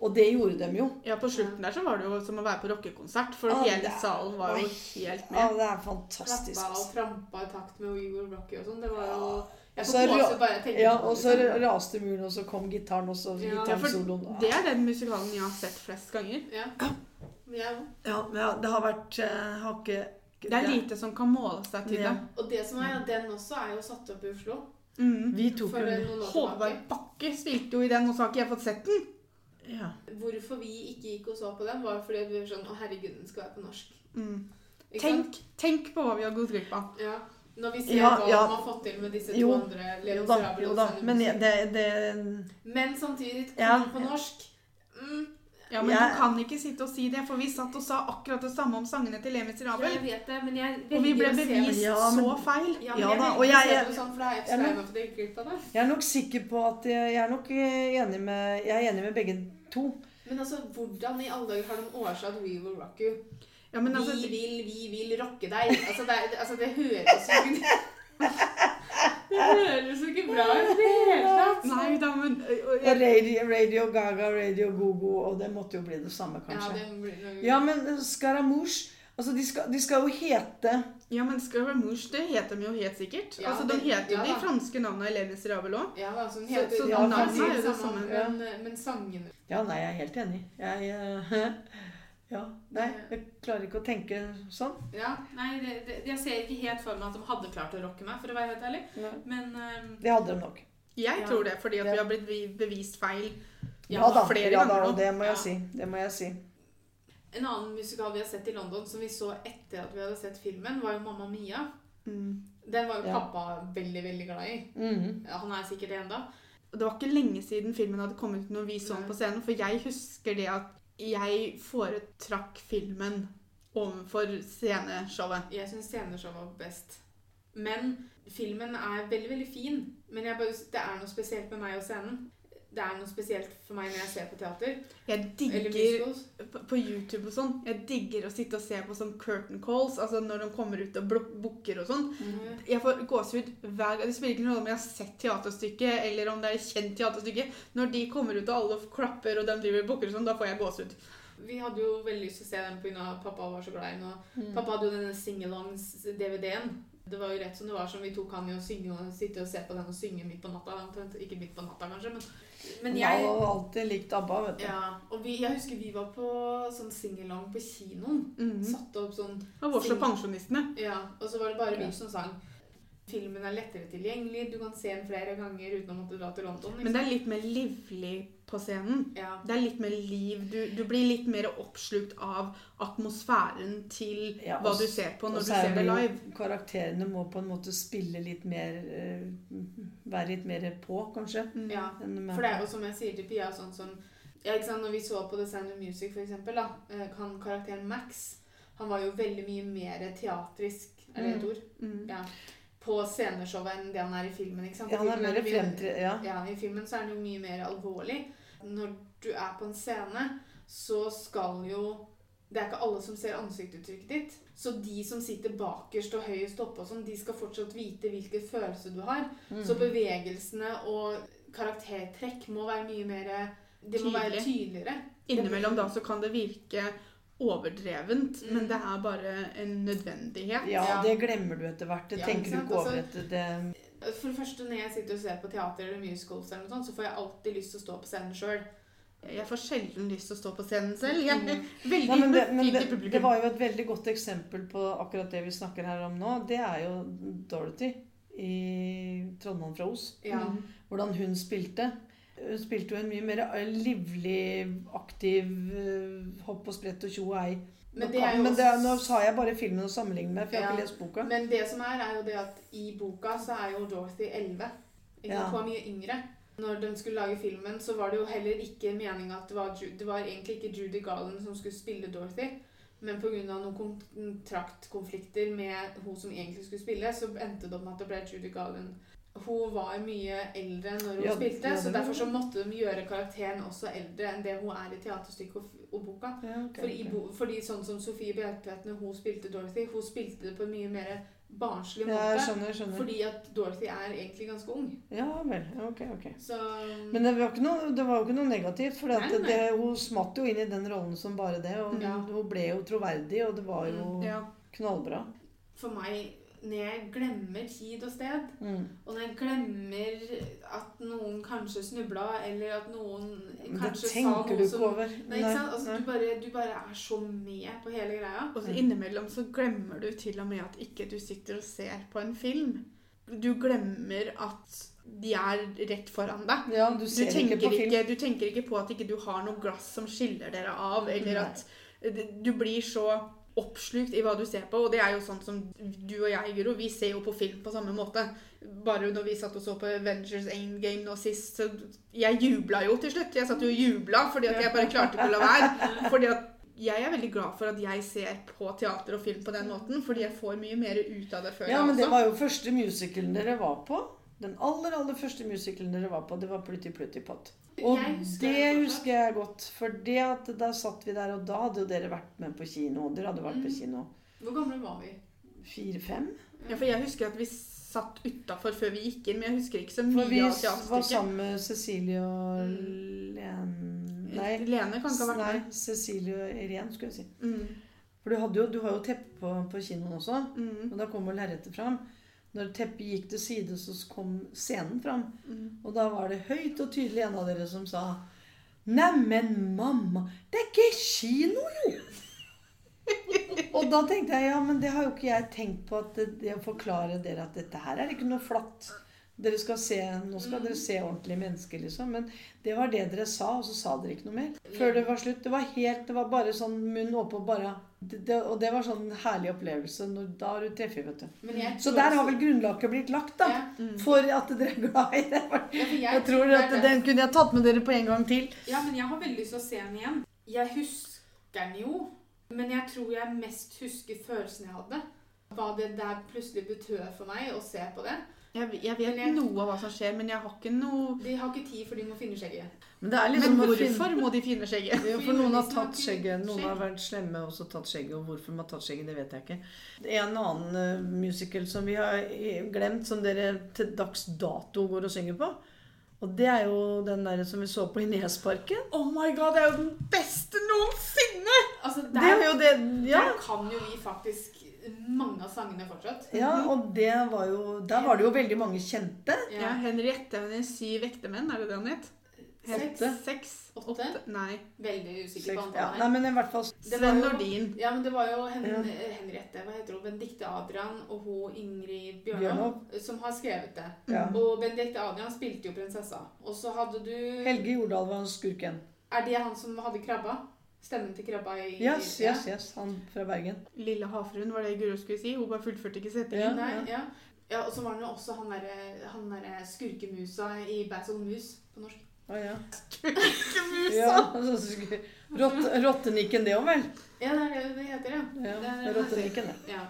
S2: Og det gjorde dem jo.
S3: Ja, på slutten der så var det jo som å være på rockekonsert, for
S2: Ja,
S3: hele
S2: det er-
S3: salen var jo
S2: Oi.
S3: helt
S2: Ja,
S3: med.
S2: det er
S1: Klappa
S2: fantastisk.
S1: og trampa i takt med We Will Rock You og sånn. Det var jo Jeg får
S2: Og så ra-
S1: gåsehud bare jeg tenker
S2: Ja,
S1: på det,
S2: og så
S1: liksom.
S2: raste muren, og så kom gitaren, og så
S1: Ja,
S3: Ja, for
S2: gitarsoloen.
S3: det er den musikalen jeg har sett flest ganger.
S1: Ja. Jeg òg.
S2: Ja, men ja, det har vært eh, har ikke
S3: Det er lite som kan måle seg til
S2: Ja.
S3: det.
S1: Og det som er, at den også er jo satt opp i Oslo.
S3: Mhm.
S2: Vi tok
S1: For
S2: jo
S1: noen år tilbake.
S3: Håvard Bakke spilte jo i den, og så har ikke jeg fått sett den.
S2: ja.
S1: Hvorfor vi ikke gikk og så på den, var fordi vi var sånn Å, herregud, den skal være på norsk.
S3: Mhm.
S1: Ikke sant?
S3: Tenk, tenk på hva vi har gått glipp av.
S1: Ja. Når vi ser
S2: Ja,
S1: hva
S2: ja.
S1: man har fått til med disse to
S2: Jo,
S1: andre Le
S2: Jo da,
S1: Miserable
S2: jo
S1: og
S2: da.
S1: Sanne
S2: Men
S1: Musikk.
S2: jeg- det, det
S1: Men samtidig kom
S2: Ja.
S1: på norsk. Mm,
S3: Ja, Men
S2: Jeg-
S3: du kan ikke sitte og si det, for vi satt og sa akkurat det samme om sangene til Le
S1: jeg
S3: Miserable.
S1: vet det, men jeg
S3: Og vi ble
S1: å se-
S3: bevist
S2: Ja, men-
S3: så feil.
S1: Ja, men
S2: Ja
S1: jeg
S2: da,
S1: velger
S2: og
S1: å
S2: jeg-
S1: se det sånn, for da er jeg
S2: Ja, men-
S1: flau for at jeg gikk glipp av det.
S2: Jeg er nok sikker på at jeg, jeg er nok eh, enig med Jeg er enig med begge to.
S1: Men altså, hvordan i alle dager har de oversatt We Will Rock You?
S3: Ja, men altså,
S1: vi vil, vi vil rocke deg. Altså, det, er- altså, det høres jo ikke Det høres jo ikke bra ut i det hele tatt.
S3: Nei da, men ø, ø,
S2: Og
S3: jeg,
S2: Radio, radio Gaga, Radio Gogo, og det måtte jo bli det samme,
S1: Ja,
S2: kanskje.
S1: det blir noe...
S2: Ja, men Scaramouche Altså, de skal, de skal jo hete
S3: Ja, men Scaramouche, det heter de jo helt sikkert.
S1: Ja,
S3: altså, De
S1: det-
S3: heter jo
S1: ja
S3: de
S1: da.
S3: franske navnene i Le Miserable òg.
S1: Ja, altså, den
S3: Så-
S1: heter,
S3: så
S1: ja,
S2: navnet
S1: den
S2: er
S1: sier
S3: jo det
S1: samme,
S3: samme, ja.
S1: men, men sangene
S2: Ja, nei, jeg er helt enig. Jeg eh, Ja. Nei, jeg klarer ikke å tenke sånn.
S1: Ja, nei, det, det, jeg ser ikke helt for meg at de hadde klart å rocke meg, for å være helt ærlig. Men ehm,
S2: Det hadde de nok.
S3: Jeg
S1: Ja.
S3: tror det, fordi at
S2: Ja.
S3: vi har blitt vi- bevist feil.
S1: Ja,
S2: Ja da,
S3: flere
S2: ja da
S3: ganger nå.
S2: og det må
S1: Ja.
S2: jeg si. Det må jeg si.
S1: en annen musikal vi har sett i London, som vi så etter at vi hadde sett filmen, var jo 'Mamma Mia'. Mm. Den var jo
S2: Ja.
S1: pappa veldig, veldig glad i.
S2: Mhm.
S1: Ja, Han er sikkert det enda.
S3: Og Det var ikke lenge siden filmen hadde kommet ut når vi så den
S1: Nei.
S3: på scenen, for jeg husker det at jeg foretrakk filmen overfor sceneshowet.
S1: Jeg syns sceneshow var best. Men filmen er veldig, veldig fin. Men jeg bare, det er noe spesielt med meg og scenen. det er noe spesielt for meg når jeg ser på teater.
S3: Jeg
S1: Eller
S3: digger
S1: musicals.
S3: på på YouTube og sånn. Jeg digger å sitte og se på sånn curtain calls, altså når de kommer ut og blok- booker og sånn.
S2: Mm.
S3: Jeg får gåsehud hver gang. Det spiller ikke noe rolle om jeg har sett teaterstykket eller om det er et kjent teaterstykke. Når de kommer ut og alle klapper og de driver og booker og sånn, da får jeg gåsehud.
S1: Vi hadde jo veldig lyst til å se den pga. at pappa var så glad i den. og
S3: Mm.
S1: Pappa hadde jo denne singalongs-DVD-en. Det var jo rett som det var, som vi tok han i å synge og sitte og se på den og synge midt på natta. omtrent. Ikke midt på natta, kanskje, men, men jeg
S2: har alltid likt ABBA, vet du.
S1: ja, og vi, Jeg husker vi var på sånn singalong på kinoen.
S3: Mhm.
S1: Satte opp sånn
S3: Og Vårslo pensjonistene.
S1: Ja, og så var det bare
S2: Ja.
S1: vi som sang. Filmen er lettere tilgjengelig, du kan se den flere ganger uten å måtte dra til London.
S3: Men
S1: Ikke?
S3: det er litt mer livlig på scenen.
S1: sant? Ja.
S3: Det er litt mer liv. Du, du blir litt mer oppslukt av atmosfæren til
S2: Ja,
S3: hva
S2: og
S3: du
S2: s-
S3: ser på
S2: og
S3: når du
S2: så er
S3: ser det
S2: jo-
S3: live.
S2: Karakterene må på en måte spille litt mer eh, Være litt mer på, kanskje.
S3: Mm.
S1: ja.
S2: enn med-
S1: For det er jo som jeg sier til Pia, sånn som ja, ikke sant, Når vi så på The Sound of Music, for eksempel, da, eh, han karakteren Max han var jo veldig mye mer teatrisk er det et
S3: Mm.
S1: ord,
S3: Mm.
S1: ja, på sceneshowet enn det han er i filmen. ikke sant?
S2: ja, han er
S1: Filmen
S2: mer
S1: jo mye-
S2: fremtre... Ja.
S1: Ja, I filmen så er han jo mye mer alvorlig. Når du er på en scene, så skal jo Det er ikke alle som ser ansiktsuttrykket ditt. Så de som sitter bakerst og høyest oppe, og sånn, de skal fortsatt vite hvilke følelser du har. Så
S2: Mm.
S1: bevegelsene og karaktertrekk må være mye mer De må være tydeligere.
S3: Innimellom da så kan det virke overdrevent,
S1: Mm.
S3: men det er bare en nødvendighet.
S2: ja,
S1: Ja.
S2: det glemmer du etter hvert. Det
S1: Ja, ikke
S2: tenker du
S1: sant?
S2: ikke over
S1: Altså-
S2: etter det.
S1: For det første, når jeg sitter og ser på teater eller musicals, eller noe sånt, så får jeg alltid lyst til å stå på scenen sjøl.
S3: Jeg får sjelden lyst til å stå på scenen selv. Jeg er veldig
S2: Mm. Nei, men det, men
S3: flink
S2: det,
S3: i
S2: det
S3: publikum.
S2: var jo et veldig godt eksempel på akkurat det vi snakker her om nå. Det er jo Dorothy i 'Trondheim fra Os'.
S1: Ja.
S3: Mm.
S2: Hvordan hun spilte. Hun spilte jo en mye mer eh, livlig, aktiv eh, hopp og sprett og tjo og ei. Nå,
S1: Men det er
S2: kan-
S1: jo
S2: men det er, nå
S1: også-
S2: sa jeg bare filmen å sammenligne med, for jeg har
S1: Ja.
S2: ikke lest boka.
S1: Men det som er, er jo det at i boka så er jo Dorothy 11. Ikke
S2: Ja.
S1: sant? Hun var mye yngre. Når de skulle lage filmen, så var det jo heller ikke meninga at det var, Ju- det var egentlig ikke Judy Garland som skulle spille Dorothy. Men pga. noen kontraktkonflikter med hun som egentlig skulle spille, så endte det opp med at det ble Judy Garland. Hun var mye eldre når hun
S2: Ja,
S1: spilte,
S2: ja, det
S1: så
S2: var-
S1: derfor så måtte de gjøre karakteren også eldre enn det hun er i teaterstykket og, f- og boka.
S2: Ja, ok,
S1: For i
S2: ok.
S1: bo, fordi sånn som Sofie Bjertvedt når hun spilte Dorothy, hun spilte det på en mye mer barnslig
S2: Ja, jeg
S1: måte.
S2: skjønner, jeg skjønner.
S1: fordi at Dorothy er egentlig ganske ung.
S2: Ja vel. ja, Ok, ok.
S1: Så
S2: Men det var, ikke noe, det var jo ikke noe negativt, for at
S1: Nei, nei.
S2: det, hun smatt jo inn i den rollen som bare det. Og
S1: Ja. Mm,
S2: hun ble jo troverdig, og det var jo
S3: Ja.
S2: knallbra.
S1: for meg, når jeg glemmer tid og sted,
S2: Mm.
S1: og når jeg glemmer at noen kanskje snubla, eller at noen
S2: Men Det
S1: kanskje sa
S2: tenker du
S1: noe
S2: ikke
S1: som
S2: over.
S1: Nei, ikke sant?
S2: Nei.
S1: Altså, du, bare, du bare er så med på hele greia.
S3: Og så innimellom så glemmer du til og med at ikke du sitter og ser på en film. Du glemmer at de er rett foran deg.
S2: Ja, du
S3: Du
S2: ser
S3: tenker
S2: ikke på film.
S3: ikke, du tenker ikke på at ikke du har noe glass som skiller dere av, eller
S2: Nei.
S3: at d- du blir så oppslukt i hva du ser på. Og det er jo sånn som du og jeg, Guro, vi ser jo på film på samme måte. Bare når vi satt og så på Avengers Endgame nå sist, så jeg jubla jo til slutt. Jeg satt jo og jubla fordi at jeg bare klarte ikke å la være. Fordi at jeg er veldig glad for at jeg ser på teater og film på den måten, fordi jeg får mye mer ut av det altså. før.
S2: Ja,
S3: jeg
S2: men det
S3: også.
S2: var jo første musicalen dere var på. Den aller, aller første musicalen dere var på, det var Plutti Plutti Pott. Og
S1: Jeg husker
S2: det
S1: det fortsatt.
S2: husker jeg godt. For det at da satt vi der, og da hadde jo dere vært med på kino. Dere hadde vært på
S1: Mm.
S2: kino
S1: Hvor gamle var vi?
S2: fire-fem.
S3: Ja, for jeg husker at vi satt utafor før vi gikk inn, men jeg husker ikke så mye
S2: For vi
S3: av
S2: var
S3: teaterstykket.
S2: sammen med Cecilie og
S1: Mm.
S2: Len... Nei,
S3: Lene kan ikke ha vært
S2: nei
S3: med.
S2: Cecilie og Irén, skulle jeg si.
S3: Mm.
S2: For du, hadde jo, du har jo teppe på, på kinoen også,
S3: Mm.
S2: og da kommer lerretet fram. Når teppet gikk til side, så kom scenen fram.
S3: Mm.
S2: Og da var det høyt og tydelig en av dere som sa Neimen, mamma, det er ikke kino, jo! og da tenkte jeg ja, men det har jo ikke jeg tenkt på at det, det å forklare dere at dette her er ikke noe flatt. Dere skal se, nå skal
S1: Mm.
S2: dere se ordentlige mennesker, liksom. Men det var det dere sa, og så sa dere ikke noe mer før det var slutt. Det var helt, det var bare sånn munn åpen og bare det, det, Og det var sånn herlig opplevelse. Når, da har du treffet, vet du.
S1: Men jeg
S2: Så
S1: tror
S2: der har
S1: også-
S2: vel grunnlaget blitt lagt, da.
S1: ja.
S2: For at dere er glad i det.
S1: Ja, for
S2: Jeg tror
S1: det er
S2: at den kunne jeg tatt med dere på en gang til.
S1: Ja, men jeg har veldig lyst til å se den igjen. Jeg husker den jo, men jeg tror jeg mest husker følelsen jeg hadde. Hva det der plutselig betød for meg å se på det.
S3: Jeg, ve- jeg vet
S1: Men jeg-
S3: noe av hva som skjer, men jeg har ikke noe
S1: De har ikke tid, for de må finne skjegget.
S2: Men det er
S3: Men
S2: liksom å finne-
S3: hvorfor må de finne skjegget?
S2: Ja, for noen har
S1: Fordi
S2: tatt
S1: de snakker
S2: skjegget, noen
S1: skjegg.
S2: har vært slemme og også tatt skjegget. Og hvorfor de har tatt skjegget, det vet jeg ikke. En annen eh, musical som vi har eh, glemt, som dere til dags dato går og synger på, og det er jo den der som vi så på i Nesparken.
S3: Oh my god, det er jo den beste noensinne!
S1: Altså,
S2: Det er
S1: der,
S2: jo det Ja.
S1: der kan jo vi faktisk mange av sangene fortsatt.
S2: Ja, og det var jo Der var det jo veldig mange kjente.
S3: Ja, Henriette hennes syv ektemenn, er det det han het?
S1: Seks,
S3: Seks?
S1: Åtte?
S3: Nei.
S1: Veldig usikker på
S2: Ja,
S1: antallet
S2: nei,
S1: her.
S2: men i hvert fall
S1: Det var
S3: Sven
S1: jo-
S3: Nordin.
S1: Ja, men det var jo Hen
S2: Ja.
S1: Henriette, hva heter hun, Benedicte Adrian og hun Ingrid Bjørnov
S2: Bjørnov.
S1: som har skrevet det.
S2: ja.
S1: Og Benedicte Adrian spilte jo prinsessa. Og så hadde du
S2: Helge Jordal var skurken.
S1: Er det han som hadde krabba? Stemmen til krabba i
S2: Yes,
S1: ja.
S2: yes, yes. Han fra Bergen.
S3: Lille Havfruen var det Guro skulle si. Hun bare fullførte ikke setningen.
S2: Ja.
S1: Nei, ja. ja, og så var han jo også han derre han der skurkemusa i Basil Mus på norsk.
S2: Å ja.
S3: Skurkemusa!
S2: ja altså, skur- rotte- Rottenikken, det òg, vel?
S1: Ja, det er det det heter, ja.
S2: Ja,
S1: Det er-
S2: Rottenikken, det.
S1: ja.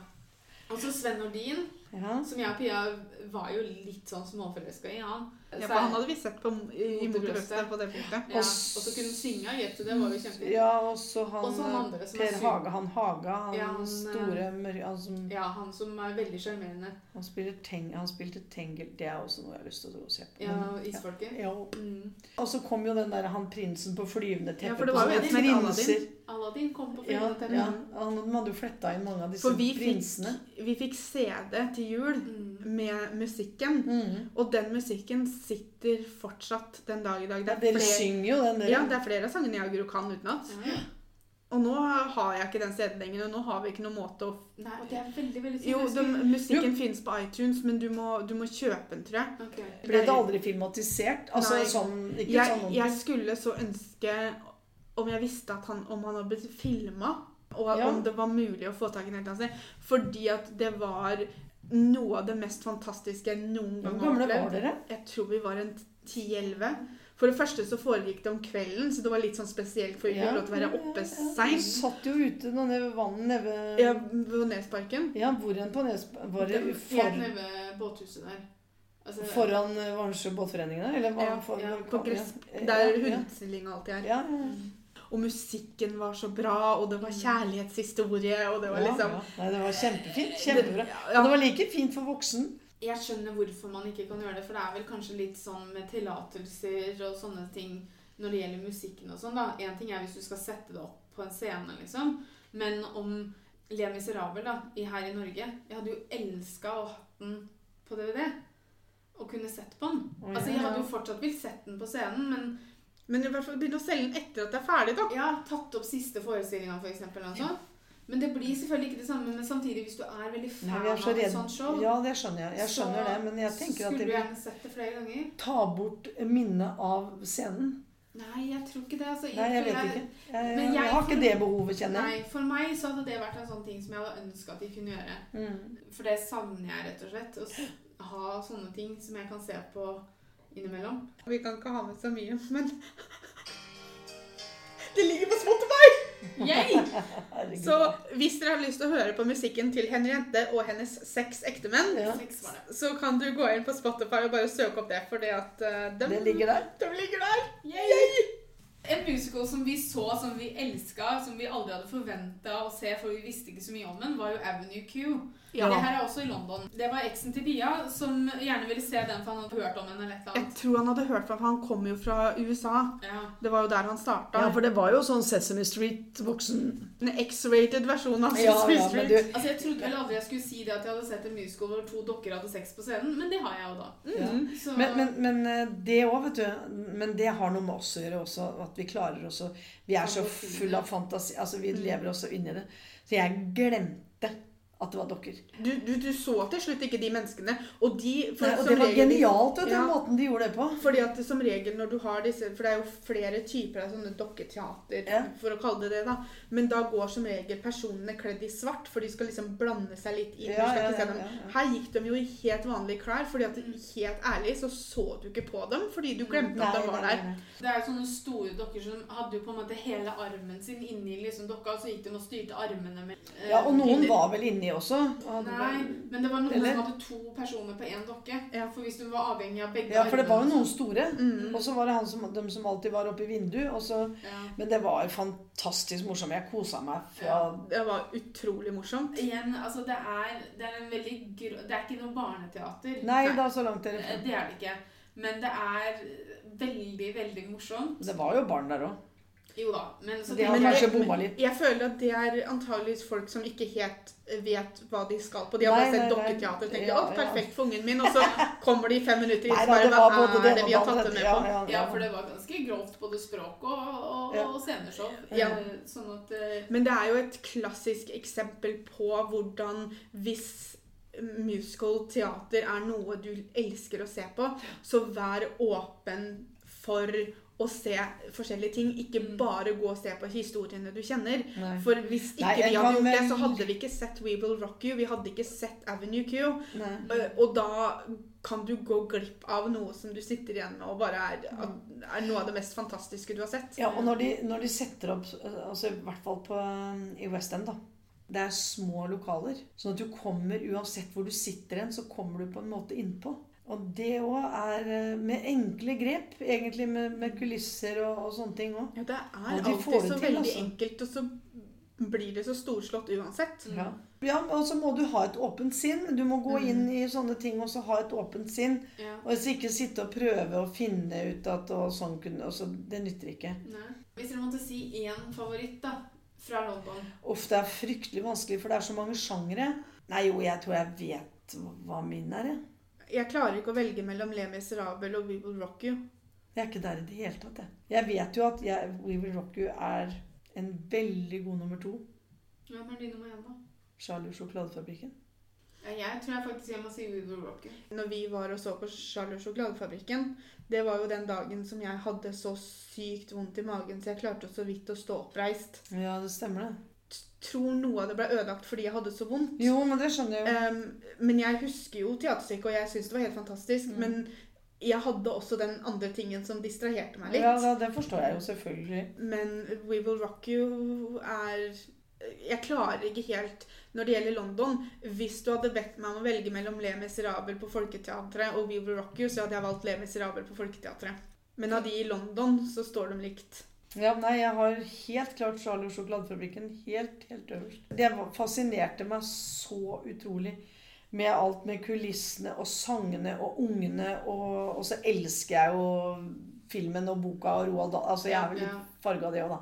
S1: Og så Sven Nordin,
S2: Ja.
S1: som jeg og Pia var jo litt sånn småforelska i. Han
S3: Ja, for han hadde vi sett på i
S1: Mot i
S3: motorbrøstet
S1: brøstet.
S3: på det punktet.
S1: ja, Og så kunne han synge, gjett det, var jo kjempefint.
S2: Ja, og så han,
S1: Og så han andre som er
S2: Per
S1: sur.
S2: Haga, han Haga, han,
S1: Ja, han,
S2: store
S3: eh,
S2: mør- han, som,
S1: Ja, han som er veldig sjarmerende.
S2: han, spiller teng, han spilte Tengel. Det er også noe jeg har lyst til å dra og se på.
S1: Ja,
S2: men- ja.
S1: isfolket.
S2: Ja.
S1: Mm.
S2: Og så kom jo den der han prinsen på flyvende teppe.
S3: Ja, for det
S2: på
S3: var jo
S2: sånne
S3: en som het Aladdin.
S2: prinser.
S1: Aladdin kom på
S2: Ja,
S1: filmen. til
S2: ja.
S1: henne.
S2: Han de hadde jo fletta inn mange av disse
S3: For vi fikk,
S2: prinsene.
S3: vi fikk CD til jul
S1: Mm.
S3: med musikken.
S2: Mhm.
S3: Og den musikken sitter fortsatt den dag i dag.
S2: Ja,
S3: Det er
S2: dere
S3: flere,
S2: synger jo den, dere.
S3: ja, det er flere av sangene jeg og Guro kan utenat.
S1: Ja.
S3: Og nå har jeg ikke den CD-en lenger, og nå har vi ikke noen måte å
S1: Nei, og det er veldig, veldig
S3: Jo,
S1: synd.
S3: den, musikken finnes på iTunes, men du må, du må kjøpe den, tror jeg.
S1: Ok.
S2: Ble det aldri filmatisert? Altså
S3: Nei.
S2: sånn Ikke
S3: jeg,
S2: sånn
S3: jeg skulle så ønske om jeg visste at han, om han hadde blitt filma, og
S2: Ja.
S3: om det var mulig å få tak i den. helt annet sted. Fordi at det var noe av det mest fantastiske jeg noen gang
S2: Hvor
S3: har
S2: gamle var
S3: opplevd.
S2: dere?
S3: Jeg tror vi var en 10-11. For det første så foregikk det om kvelden, så det var litt sånn spesielt, for vi fikk
S2: Ja.
S3: lov til å være oppe
S2: Ja, ja. Vi
S3: seint.
S2: satt jo ute nede ved vannet nede ved
S3: Ja, på Nesparken.
S2: Ja, hvor enn på Nesbø? Var det
S1: Den- Helt
S2: for,
S1: nede ved båthuset der. Altså,
S2: foran eh, Varnsjø båtforening der? Eller var
S3: Ja,
S2: det for,
S1: ja,
S2: var-
S3: På gress,
S2: ja,
S3: der
S2: ja,
S3: hundestilling og alt det her.
S2: ja, ja.
S3: Og musikken var så bra, og det var kjærlighetshistorie, og det var
S2: Mm. Ja,
S3: liksom
S2: ja. Nei, det var kjempefint. Kjempebra.
S3: Ja,
S2: Det var like fint for voksen.
S1: Jeg skjønner hvorfor man ikke kan gjøre det, for det er vel kanskje litt sånn med tillatelser og sånne ting når det gjelder musikken og sånn, da. En ting er hvis du skal sette det opp på en scene, liksom. Men om Le Miserable, da, i, her i Norge Jeg hadde jo elska å hatt den på DVD. Og kunne sett på den.
S2: Å,
S1: Altså,
S2: ja,
S1: jeg
S2: ja.
S1: hadde jo fortsatt villet sett den på scenen, men
S3: Men i hvert fall begynne å selge den etter at det er ferdig, da.
S1: ja, tatt opp siste forestillinga, for eksempel, og sånn. Men det blir selvfølgelig ikke det samme, men samtidig, hvis du er veldig
S2: Nei,
S1: fan
S2: vi er så
S1: av et
S2: redd.
S1: sånt sånn show
S2: Ja, det skjønner jeg. Jeg
S1: Så
S2: skjønner det, men jeg tenker at
S1: Skulle
S2: det
S1: du
S2: vil
S1: gjerne sett det flere ganger?
S2: ta bort minnet av scenen.
S1: Nei, jeg tror ikke det. Altså,
S2: Nei, jeg
S1: tror
S2: vet ikke. Jeg,
S1: Men
S2: jeg,
S1: jeg
S2: har ikke
S1: får-
S2: det behovet, kjenner jeg.
S1: Nei, For meg så hadde det vært en sånn ting som jeg hadde ønska at de kunne gjøre.
S2: Mm.
S1: For det savner jeg rett og slett. Å s- ha sånne ting som jeg kan se på innimellom.
S3: Vi kan ikke ha med så mye, men Det ligger på Spotify! Yay!
S2: Herregud.
S3: Så hvis dere har lyst til å høre på musikken til Henriette og hennes seks ektemenn,
S2: Ja.
S1: Sex var det.
S3: så kan du gå inn på Spotify og bare søke opp det, fordi at eh, dem,
S2: Det ligger der.
S3: de ligger der.
S1: En musical som vi så, som vi elska, som vi aldri hadde forventa å se, for vi visste ikke så mye om den, var jo Avenue Q. Det her er også i London. Det var eksen til Pia som gjerne ville se den, for han hadde hørt om den eller et eller
S3: Jeg
S1: annet.
S3: tror han hadde hørt fra, for han kom jo fra USA.
S1: Ja.
S3: Det var jo der han starta.
S2: Ja, for det var jo sånn Sesame Street voksen.
S3: En X-rated versjon av
S2: Ja,
S3: Sesame
S2: ja, men
S3: Street.
S2: du,
S1: Altså, Jeg trodde vel aldri jeg skulle si det at jeg hadde sett en musical hvor to dokker hadde sex på scenen, men det har jeg jo da.
S2: ja.
S3: Mhm.
S1: Så,
S2: Men, men, men eh, det òg, vet du. Men det har noe med oss å gjøre også. At vi klarer oss å Vi er så
S1: Fantasien.
S2: fulle av fantasi. Altså,
S3: Mm.
S2: vi lever oss så inn i det. Så jeg glemte at det var dokker.
S3: Du, du, du så til slutt ikke de menneskene, og de for
S2: Nei, og
S3: som
S2: det var
S3: regel-
S2: genialt, vet du,
S3: Ja.
S2: den måten de gjorde det på.
S3: Fordi at det som regel når du har disse For det er jo flere typer av sånne dokketeater,
S2: Ja.
S3: for å kalle det det, da. Men da går som regel personene kledd i svart, for de skal liksom blande seg litt inn.
S2: Ja,
S3: du skal
S2: ja,
S3: ikke se
S2: ja,
S3: dem.
S2: ja, Mm. ja.
S3: Her gikk de jo i helt vanlige klær, fordi at helt ærlig så så du ikke på dem, fordi du glemte at de var der.
S2: Mm. nei.
S1: Det er jo sånne store dokker som hadde jo på en måte hele armen sin inni liksom dokka, og så gikk de og styrte armene med eh,
S2: Ja, og noen
S1: pinner.
S2: var vel inni også? Hadde
S1: Nei, men det var noen
S2: Eller?
S1: som hadde to personer på én dokke.
S3: Ja.
S1: For hvis du var avhengig av begge
S2: Ja, for det var jo
S1: armene,
S2: noen store.
S3: Mm.
S2: Og så var det han som, de som alltid var oppe i vinduet. Og så,
S1: ja.
S2: men det var fantastisk morsomt. Jeg kosa meg. Fra,
S3: Det var utrolig morsomt.
S1: Igjen, altså det er, det er en veldig grå... Det er ikke noe barneteater. eh,
S2: Nei da, så langt
S1: Det
S2: dere
S1: er det ikke. Men det er veldig, veldig morsomt.
S2: Det var jo barn der òg.
S1: Jo da, men så
S2: De
S1: tenker
S2: har
S1: jeg-
S2: kanskje bomma litt.
S3: Jeg føler at det er antageligvis folk som ikke helt vet hva de skal på. De har
S2: Nei,
S3: bare sett
S2: nei, nei.
S3: dokketeater og tenker
S2: Ja,
S3: 'Å,
S2: ja.
S3: perfekt for ungen min', og så kommer de i fem minutter inn
S2: Nei
S3: og
S2: da,
S3: bare
S2: det var
S3: 'Hva
S2: både
S3: er
S2: det
S3: det
S2: og
S3: vi har
S2: det
S3: tatt det
S2: andre.
S3: med
S2: Ja,
S3: på?'
S2: ja, ja.
S1: Ja, for det var ganske grovt både språk og, og,
S2: Ja.
S1: og sceneshow.
S3: Ja.
S1: Eh, Sånn at eh,
S3: Men det er jo et klassisk eksempel på hvordan hvis musical teater er noe du elsker å se på, så vær åpen for å se forskjellige ting. Ikke
S1: Mm.
S3: bare gå og se på historiene du kjenner.
S2: Nei.
S3: For hvis ikke
S2: Nei, jeg
S3: vi hadde
S2: kan
S3: gjort det,
S2: vel-
S3: så hadde vi ikke sett We Will Rock You. Vi hadde ikke sett Avenue Q.
S2: Nei.
S3: Eh, Og da kan du gå glipp av noe som du sitter igjen med og bare er, at- er noe av det mest fantastiske du har sett.
S2: Ja, og når de, når de setter opp altså I hvert fall på, um, i West End, da. Det er små lokaler. Sånn at du kommer uansett hvor du sitter hen, så kommer du på en måte innpå. Og det òg er eh, med enkle grep, egentlig med, med kulisser og, og sånne ting òg.
S3: Ja, det
S2: Ja,
S3: er
S2: de får
S3: alltid
S2: det
S3: så
S2: til,
S3: veldig
S2: altså.
S3: enkelt, og så blir det så storslått uansett.
S1: Mm.
S2: Ja. ja, og så må du ha et åpent sinn. Du må gå
S3: Mm.
S2: inn i sånne ting og så ha et åpent sinn.
S1: ja.
S2: Og så ikke sitte og prøve å finne ut at og sånn kunne altså, Det nytter ikke.
S1: Nei. Hvis dere måtte si én favoritt da, fra London
S2: Uff, det er fryktelig vanskelig, for det er så mange sjangere. Nei, jo, jeg tror jeg vet hva min er, jeg.
S3: Jeg klarer ikke å velge mellom Le Miserable og We Will Rock You.
S2: Jeg er ikke der i det hele tatt, jeg. Jeg vet jo at jeg, We Will Rock You er en veldig god nummer to.
S1: Hvem er din nummer én, da?
S2: Charlie og sjokoladefabrikken.
S1: Ja, Jeg tror jeg faktisk jeg må si We Will Rock You.
S3: Når vi var og så på Charlie og sjokoladefabrikken, det var jo den dagen som jeg hadde så sykt vondt i magen, så jeg klarte så vidt å stå oppreist.
S2: Ja, det stemmer det.
S3: Tror noe av det ble ødelagt fordi jeg hadde så vondt.
S2: Jo, men det skjønner jeg jo.
S3: Ehm, men jeg husker jo teaterstykket, og jeg syns det var helt fantastisk.
S2: Mm.
S3: Men jeg hadde også den andre tingen som distraherte meg litt.
S2: Ja, da, det forstår jeg jo selvfølgelig.
S3: Men We Will Rock You er Jeg klarer ikke helt når det gjelder London. Hvis du hadde bedt meg om å velge mellom Le Miserable på Folketeatret og We Will Rock You, så hadde jeg valgt Le Miserable på Folketeatret. Men av de i London, så står de likt.
S2: Ja, nei, jeg har helt klart Charlie og sjokoladefabrikken helt, helt øverst. Det var- fascinerte meg så utrolig med alt med kulissene og sangene og ungene. Og, og så elsker jeg jo filmen og boka og Roald Dahl. Altså, jeg er vel
S1: Ja.
S2: litt farga av det òg, da.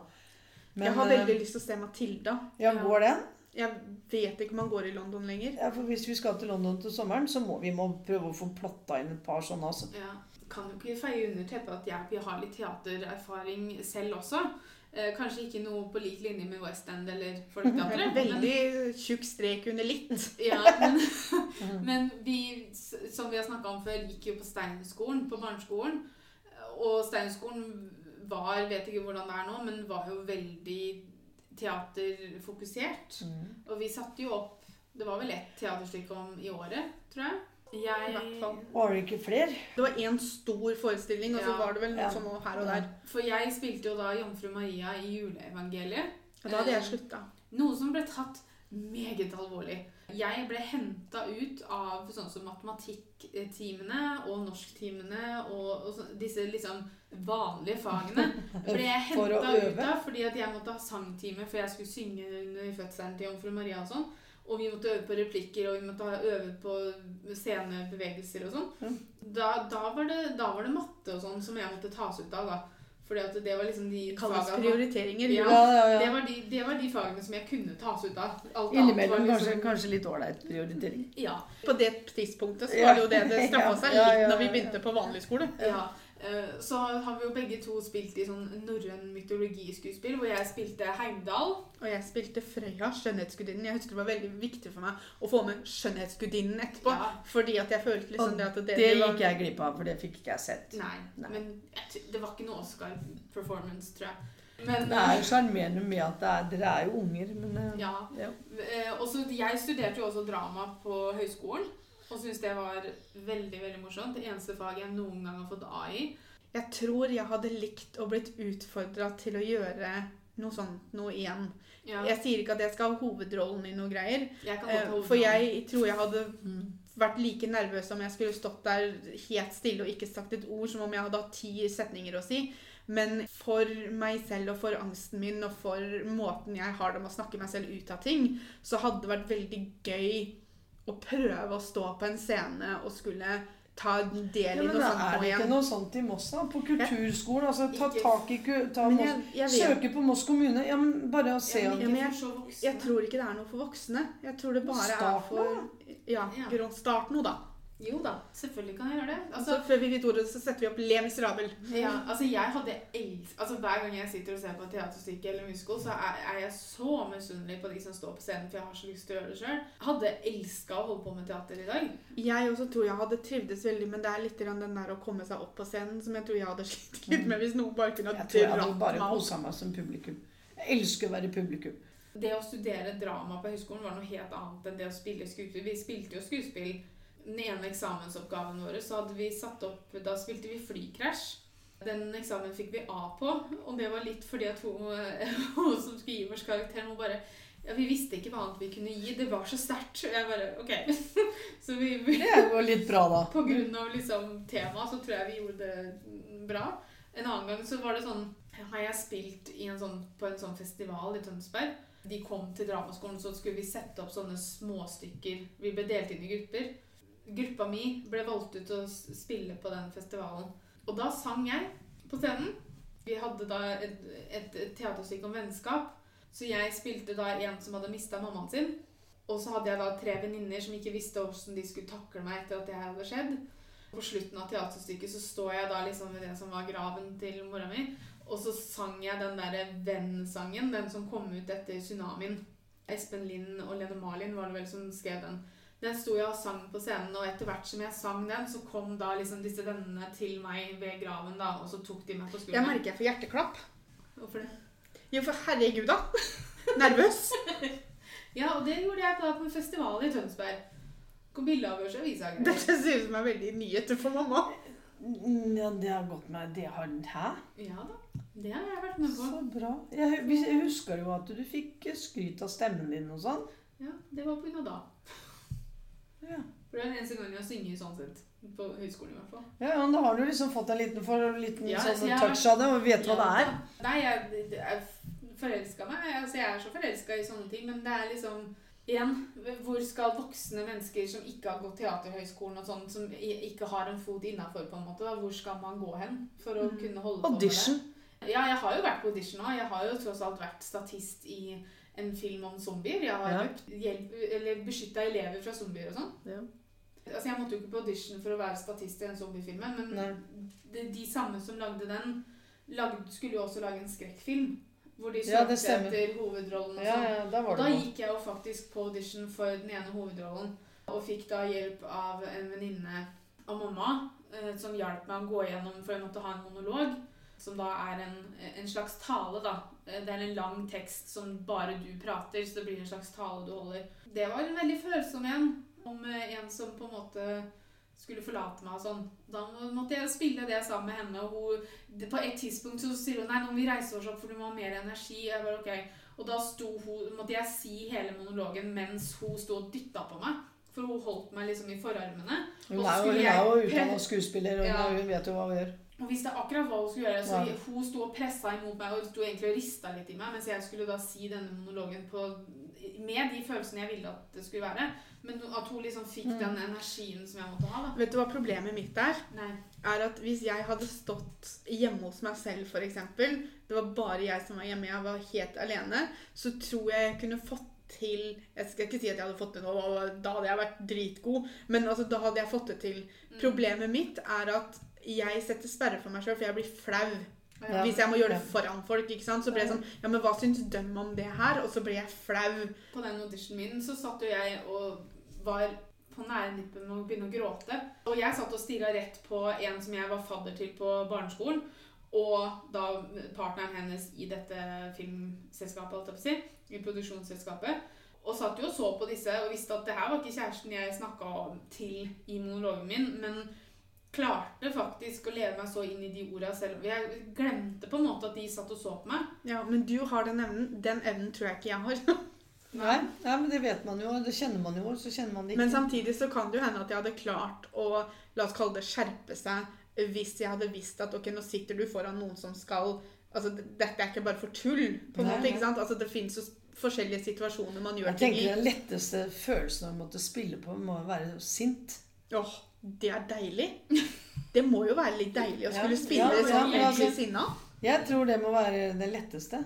S3: jeg har veldig
S2: eh,
S3: lyst til å se Matilda.
S2: ja, går den?
S3: Jeg vet ikke om han går i London lenger.
S2: Ja, for hvis vi skal til London til sommeren, så må vi må prøve å få platta inn et par sånne. Altså.
S1: Ja. Kan jo ikke feie under teppet at jeg vi har litt teatererfaring selv også. Eh, kanskje ikke noe på lik linje med West End eller Folketeatret. men-
S3: Veldig tjukk strek under litt.
S1: Ja, men, men vi, s- som vi har snakka om før, gikk jo på Steinerskolen, på barneskolen. Og Steinerskolen var, vet ikke hvordan det er nå, men var jo veldig teaterfokusert. Og vi satte jo opp Det var vel ett teaterstykke om i året, tror jeg. jeg
S3: I hvert fall.
S2: Var det ikke flere?
S3: Det var én stor forestilling, og så
S1: Ja.
S3: var det vel noe
S2: Ja.
S3: sånn her og der.
S1: For jeg spilte jo da Jomfru Maria i juleevangeliet.
S3: Og da hadde jeg slutta.
S1: Noe som ble tatt meget alvorlig. Jeg ble henta ut av sånn som matematikktimene og norsktimene og, og så, disse liksom vanlige fagene. Ble jeg
S2: For å
S1: henta ut
S2: øve?
S1: av fordi at jeg måtte ha sangtime før jeg skulle synge under fødselen til jomfru Maria og sånn. Og vi måtte øve på replikker, og vi måtte ha- øve på scenebevegelser og sånn. Da, da, var det, da var det matte og sånn som jeg måtte tas ut av, da. Fordi at det var liksom de
S3: Det kalles
S1: fagene-
S3: prioriteringer.
S1: Ja.
S2: ja,
S1: det var, de, det var de fagene som jeg kunne tas ut av. Alt annet
S2: Innimellom
S1: var
S2: kanskje,
S1: liksom-
S2: kanskje litt ålreit prioritering.
S1: Ja,
S3: På det tidspunktet så
S2: Ja.
S3: var det jo det det straffa seg
S2: Ja,
S3: litt
S2: ja, ja,
S3: når vi
S2: ja.
S3: begynte på vanlig skole.
S1: ja. Eh, Så har vi jo begge to spilt i sånn norrøn mytologiskuespill, hvor jeg spilte Heimdall.
S3: Og jeg spilte Frøya, skjønnhetsgudinnen. Jeg husker det var veldig viktig for meg å få med skjønnhetsgudinnen etterpå.
S1: Ja.
S3: Fordi at jeg følte liksom
S2: Og
S3: det at det,
S2: Det
S3: det var
S2: gikk jeg glipp av, for det fikk ikke jeg sett.
S1: Nei,
S2: Nei.
S1: men jeg tr- det var ikke noe Oscar-performance, tror jeg. Men,
S2: Det er sjarmerende med at det er, dere er jo unger, men eh,
S1: Ja.
S2: Ja.
S1: Eh, og så- jeg studerte jo også drama på høyskolen, og syntes det var veldig veldig morsomt. Det eneste faget jeg noen gang har fått A i.
S3: Jeg tror jeg hadde likt å blitt utfordra til å gjøre noe sånt noe igjen.
S1: Ja,
S3: Jeg sier ikke at jeg skal ha hovedrollen i noe greier,
S1: jeg kan godt
S3: eh,
S1: ta hodet
S3: for
S1: nå.
S3: jeg tror jeg hadde
S2: Mm.
S3: vært like nervøs om jeg skulle stått der helt stille og ikke sagt et ord, som om jeg hadde hatt ti setninger å si. Men for meg selv og for angsten min og for måten jeg har det med å snakke meg selv ut av ting, så hadde det vært veldig gøy å prøve å stå på en scene og skulle ta del
S2: Ja,
S3: i
S2: men
S3: noe
S2: det
S3: sånt
S2: er
S3: nå
S2: ikke
S3: igjen.
S2: noe sånt i Moss, da. På kulturskolen. Altså, ta
S1: Ikke-
S2: tak i ku- ta
S3: Men
S2: Moss,
S3: jeg, jeg vet
S2: Søke på Moss kommune. Ja, men bare å se
S1: Ja,
S2: om
S1: men
S3: om-
S1: ikke for så voksne.
S3: Jeg tror ikke det er noe for voksne. Jeg tror det bare
S2: Start
S3: er for Ja,
S1: Ja.
S3: grå- start nå, da.
S1: Jo da, selvfølgelig kan jeg gjøre det. Altså,
S3: Altså, før vi vet ordet, så setter vi opp 'Le miserabel'.
S1: Ja, altså jeg hadde elsk... Altså Hver gang jeg sitter og ser på et teaterstykke eller musical, så er, er jeg så misunnelig på de som står på scenen, for jeg har så lyst til å gjøre det sjøl. Hadde elska å holde på med teater i dag.
S3: Jeg også tror jeg hadde trivdes veldig, men det er litt grann den der å komme seg opp på scenen som jeg tror jeg hadde slitt litt med hvis noen bare kunne ha
S2: Mm. Jeg tror jeg hadde
S3: dratt
S2: bare
S3: meg opp.
S2: kosa meg som publikum. Jeg elsker å være publikum.
S1: Det å studere drama på høyskolen var noe helt annet enn det å spille skuespill. Vi spilte jo skuespill. Den ene eksamensoppgaven vår så hadde vi satt opp Da spilte vi Flykrasj. Den eksamen fikk vi A på, og det var litt fordi at hun, hun som skulle gi vår karakter, hun bare ja, Vi visste ikke hva annet vi kunne gi. Det var så sterkt. Og jeg bare OK. Så vi, vi
S2: Det er jo litt bra, da.
S1: på grunn av liksom temaet, så tror jeg vi gjorde det bra. En annen gang så var det sånn Har jeg spilt i en sånn, på en sånn festival i Tønsberg? De kom til dramaskolen, så skulle vi sette opp sånne småstykker. Vi ble delt inn i grupper. Gruppa mi ble valgt ut til å s- spille på den festivalen. Og da sang jeg på scenen. Vi hadde da et, et, et teaterstykke om vennskap. Så jeg spilte da en som hadde mista mammaen sin. Og så hadde jeg da tre venninner som ikke visste hvordan de skulle takle meg etter at det her hadde skjedd. På slutten av teaterstykket så står jeg da liksom ved det som var graven til mora mi, og så sang jeg den derre Venn-sangen, den som kom ut etter tsunamien. Espen Lind og Lene Marlin var det vel som skrev den. Den sto jeg og sang på scenen, og etter hvert som jeg sang den, så kom da liksom disse vennene til meg ved graven, da, og så tok de meg på
S3: Jeg
S1: skulderen.
S3: merker jeg får hjerteklapp.
S1: Hvorfor det?
S3: Jo, for herregud, da. Nervøs.
S1: Ja, og det gjorde jeg da på en festival i Tønsberg. Kom bildeavgjørelse og visa greier.
S3: Dette ser ut som er veldig nyheter for mamma.
S2: Mm, Ja, det har gått meg det har, Hæ?
S1: Ja da. Det har jeg vært med på.
S2: Så bra. Jeg, hu- jeg husker jo at du fikk eh, skryt av stemmen din og sånn.
S1: Ja, Det var på grunn av da.
S2: Ja.
S1: For det er den eneste gangen jeg synger sånn sett. På høyskolen i hvert fall.
S2: Ja, ja, men Da har du liksom fått en liten, for, liten
S1: Ja,
S2: sånn
S1: ja.
S2: touch av det, og vet hva det er.
S1: Nei, jeg, jeg forelska meg. Altså, jeg er så forelska i sånne ting, men det er liksom Igjen, hvor skal voksne mennesker som ikke har gått teaterhøgskolen og sånn, som i- ikke har en fot innafor, på en måte, da, hvor skal man gå hen for å
S3: Mm.
S1: kunne holde på med det?
S2: Audition.
S1: Ja, jeg har jo vært på audition òg. Jeg har jo tross alt vært statist i en film om zombier. Jeg har
S2: Ja.
S1: vært hjelp, eller beskytta elever fra zombier og sånn.
S2: Ja.
S1: Altså, Jeg måtte jo ikke på audition for å være statist i den zombiefilmen, men
S2: Nei.
S1: de, de samme som lagde den, lagde, skulle jo også lage en skrekkfilm. Hvor de
S2: Ja, det
S1: søkte
S2: stemmer.
S1: etter hovedrollen og
S2: Ja,
S1: sånn.
S2: ja, da
S1: Og
S2: var
S1: da
S2: det noe.
S1: gikk jeg jo faktisk på audition for den ene hovedrollen, og fikk da hjelp av en venninne av mamma, eh, som hjalp meg å gå gjennom, for jeg måtte ha en monolog, som da er en, en slags tale, da. Eh, Det er en lang tekst som bare du prater, så det blir en slags tale du holder. Det var en veldig følsom en, om eh, en som på en måte skulle forlate meg og sånn. Da må- måtte jeg spille det sammen med henne, og hun, det- på et tidspunkt så sier hun, nei, nå må vi reise oss opp, for du må ha mer energi. Jeg bare, ok, og da sto hun, måtte jeg si hele monologen mens hun sto og dytta på meg. For hun holdt meg liksom i forarmene.
S2: Hun er jo,
S1: skulle
S2: hun er
S1: jeg
S2: jo
S1: pre-
S2: utdanna skuespiller, og
S1: Ja.
S2: hun vet jo hva hun gjør.
S1: Og visste akkurat hva hun skulle gjøre, så
S2: Ja.
S1: hun sto og pressa imot meg og sto egentlig og rista litt i meg, mens jeg skulle da si denne monologen på, med de følelsene jeg ville at det skulle være. Men at hun liksom fikk
S2: Mm.
S1: den energien som jeg måtte ha. da.
S3: Vet du hva problemet mitt er?
S1: Nei.
S3: er at hvis jeg hadde stått hjemme hos meg selv, f.eks., det var bare jeg som var hjemme, jeg var helt alene, så tror jeg jeg kunne fått til Jeg skal ikke si at jeg hadde fått det nå, og da hadde jeg vært dritgod, men altså, da hadde jeg fått det til.
S1: Mm.
S3: Problemet mitt er at jeg setter sperre for meg sjøl, for jeg blir flau
S1: Ja.
S3: hvis jeg må gjøre det
S2: Ja.
S3: foran folk. ikke sant? Så blir jeg sånn Ja, men hva syns dem om det her? Og så blir jeg flau.
S1: På den auditionen min så satt jo jeg og var på nære nippet med å begynne å gråte. Og jeg satt og stirra rett på en som jeg var fadder til på barneskolen. Og da partneren hennes i dette filmselskapet, holdt jeg på å si, i produksjonsselskapet. Og satt jo og så på disse og visste at det her var ikke kjæresten jeg snakka til i monologen min, men klarte faktisk å leve meg så inn i de orda selv. Jeg glemte på en måte at de satt og så på meg.
S3: Ja, men du har den evnen. Den evnen tror jeg ikke jeg har.
S2: Nei, nei, men det vet man jo. Det kjenner man jo, så kjenner man det
S3: Men
S2: ikke.
S3: samtidig så kan det jo hende at jeg hadde klart å, la oss kalle det, skjerpe seg hvis jeg hadde visst at ok, nå sitter du foran noen som skal Altså, d- dette er ikke bare for tull, på en
S2: Nei,
S3: måte.
S2: nei.
S3: ikke sant? Altså, det fins jo s- forskjellige situasjoner man gjør
S2: jeg
S3: ting i.
S2: tenker Den letteste følelsen å måtte spille på må være sint.
S3: Åh, det er deilig. Det må jo være litt deilig å
S2: Ja,
S3: skulle
S2: ja,
S3: spille
S2: ja,
S3: sånn
S1: men
S3: egentlig
S2: altså-
S3: sinna.
S2: Jeg tror det må være det letteste.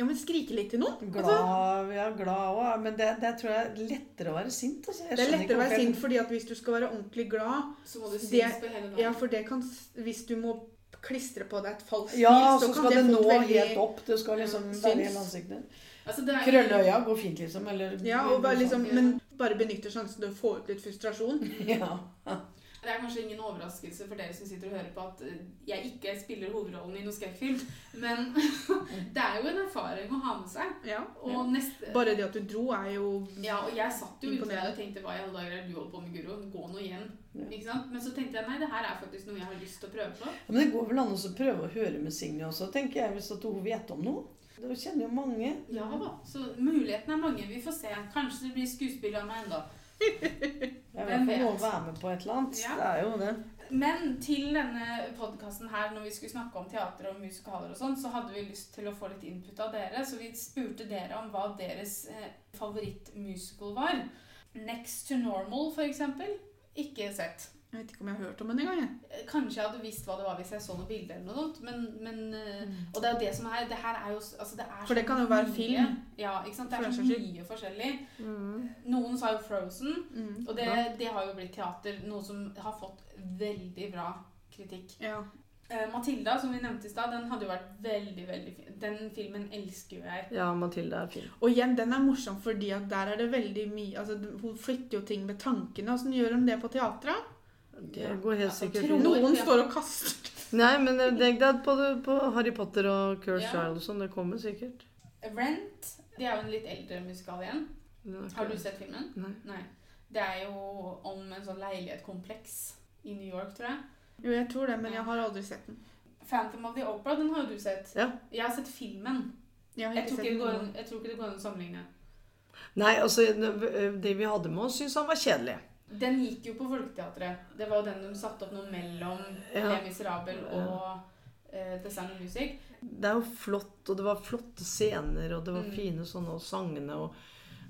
S3: Ja, men skrike litt til noen. Altså,
S2: Glad, ja, glad òg. Men det, det tror jeg er lettere å være sint. Altså. Jeg
S3: det er
S2: skjønner ikke
S3: lettere å være
S2: hvorfor jeg-
S3: sint fordi at hvis du skal være ordentlig glad
S1: Så må du
S3: Det-
S1: synes på hele dagen.
S3: Ja, for det kan s- Hvis du må klistre på deg et falskt
S2: Ja,
S3: smil,
S2: så skal det, nå helt opp. Det skal liksom
S3: Mm,
S2: være
S3: syns.
S2: hele ansiktet.
S1: Altså, det er-
S2: Krølløya går fint, liksom. Eller
S3: Ja, og bare liksom,
S1: Ja.
S3: men bare benytter sjansen til å få ut litt frustrasjon.
S2: Ja.
S1: Det er kanskje ingen overraskelse for dere som sitter og hører på at eh, jeg ikke spiller hovedrollen i noen skrekkfilm, men det er jo en erfaring å ha med seg.
S3: Ja.
S2: Ja.
S1: Og neste
S3: Bare det at du dro, er jo
S1: Ja, og jeg satt jo ute der
S3: Imponerende.
S1: og tenkte hva i alle dager er det du holder på med, Guro? Gå nå hjem.
S2: Ja.
S1: Ikke sant? Men så tenkte jeg nei, det her er faktisk noe jeg har lyst til å prøve på.
S2: Men det går vel an å så prøve å høre med Signe også, tenker jeg, hvis at hun vet om noe. Det kjenner jo mange.
S1: Ja da. Så mulighetene er mange. Vi får se. Kanskje det blir skuespill av meg ennå.
S2: Det er i
S1: Hvem
S2: hvert fall noe å
S1: vet?
S2: være med på et eller annet.
S1: Ja.
S2: Det er jo det.
S1: Men til denne podkasten her, når vi skulle snakke om teater og musikaler og sånn, så hadde vi lyst til å få litt input av dere, så vi spurte dere om hva deres eh, favorittmusical var. Next to Normal, for eksempel. Ikke sett.
S3: Jeg vet ikke om jeg har hørt om den engang. jeg.
S1: Eh, Kanskje jeg hadde visst hva det var hvis jeg så noen bilder eller noe sånt, men, men eh, Og det er jo det som er Det her er jo s- altså det er
S3: For det
S1: så
S3: kan jo være
S1: mye.
S3: film.
S1: Ja, ikke sant. Det
S3: For
S1: er
S3: den
S1: så
S3: saks skyld.
S1: mye forskjellig.
S2: Mm.
S1: Noen sa jo Frozen.
S3: Mm.
S1: Og det, det har jo blitt teater, noe som har fått veldig bra kritikk.
S3: Ja.
S1: Eh, Matilda, som vi nevnte i stad, den hadde jo vært veldig, veldig fin. Den filmen elsker jo jeg.
S2: Ja, Mathilde er fin.
S3: Og igjen, den er morsom fordi at der er det veldig mye altså, Hun flytter jo ting med tankene. Åssen gjør hun det på teatret?
S2: Det går helt
S1: Altså,
S2: sikkert.
S1: tro-
S3: Noen
S1: ja.
S3: står og kaster.
S2: Nei, men legg deg på, det- på Harry Potter og Curse
S1: Ja.
S2: Child og sånn. Det kommer sikkert.
S1: Rent det er jo en litt eldre musikal igjen.
S2: Men det er ikke-
S1: Har du sett filmen?
S2: Nei.
S1: Nei. Det er jo om en sånn leilighetkompleks i New York, tror jeg.
S3: Jo, jeg tror det, men jeg har aldri sett den.
S1: Phantom of the Opera, den har jo du sett.
S2: Ja.
S1: Jeg har sett filmen.
S3: Jeg har
S1: Jeg
S3: ikke
S1: tror
S3: sett
S1: ikke det
S3: den.
S1: går an, jeg tror ikke det går an å sammenligne.
S2: Nei, altså Det vi hadde med oss, syntes han var kjedelig.
S1: Den gikk jo på Folketeatret. Det var jo den de satte opp noe mellom
S2: Ja.
S1: Les Miserable og eh, The Sound of Music.
S2: Det er jo flott, og det var flotte scener, og det var
S1: Mm.
S2: fine sånne og sangene og,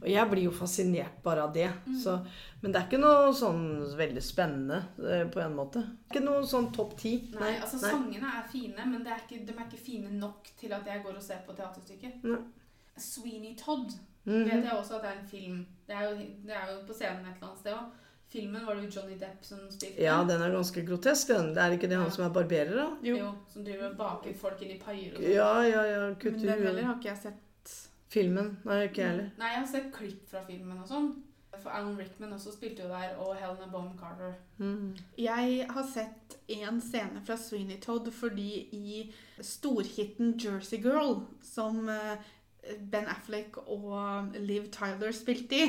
S2: og jeg blir jo fascinert bare av det.
S1: Mm.
S2: Så, men det er ikke noe sånn veldig spennende eh, på en måte. Ikke noe sånn topp ti.
S1: Nei, altså Sangene er fine, men det er ikke, de er ikke fine nok til at jeg går og ser på teaterstykket.
S2: Nei.
S1: Sweeney Todd
S2: Mhm.
S1: vet jeg også at det er en film. Det er jo, det er jo på scenen et eller annet sted òg. Filmen var det jo Johnny Depp som spilte.
S2: Ja, den er ganske grotesk, den. Det er ikke det han
S1: Ja.
S2: som er barberer, da?
S1: jo.
S3: Jo.
S1: Som driver og baker folk inn i paier og sånn.
S2: Ja, ja, ja.
S3: Men
S2: Kutter
S3: den heller
S2: huet.
S3: har ikke jeg sett.
S2: Filmen. Nei, ikke jeg heller.
S1: Nei, jeg har sett klipp fra filmen og sånn. For Alan Rickman også spilte jo der, og Helena Bonham Carter.
S2: Mm.
S3: Jeg har sett en scene fra Sweeney Todd fordi i storhiten Jersey Girl, som eh, Ben Affleck og Liv Tyler spilte i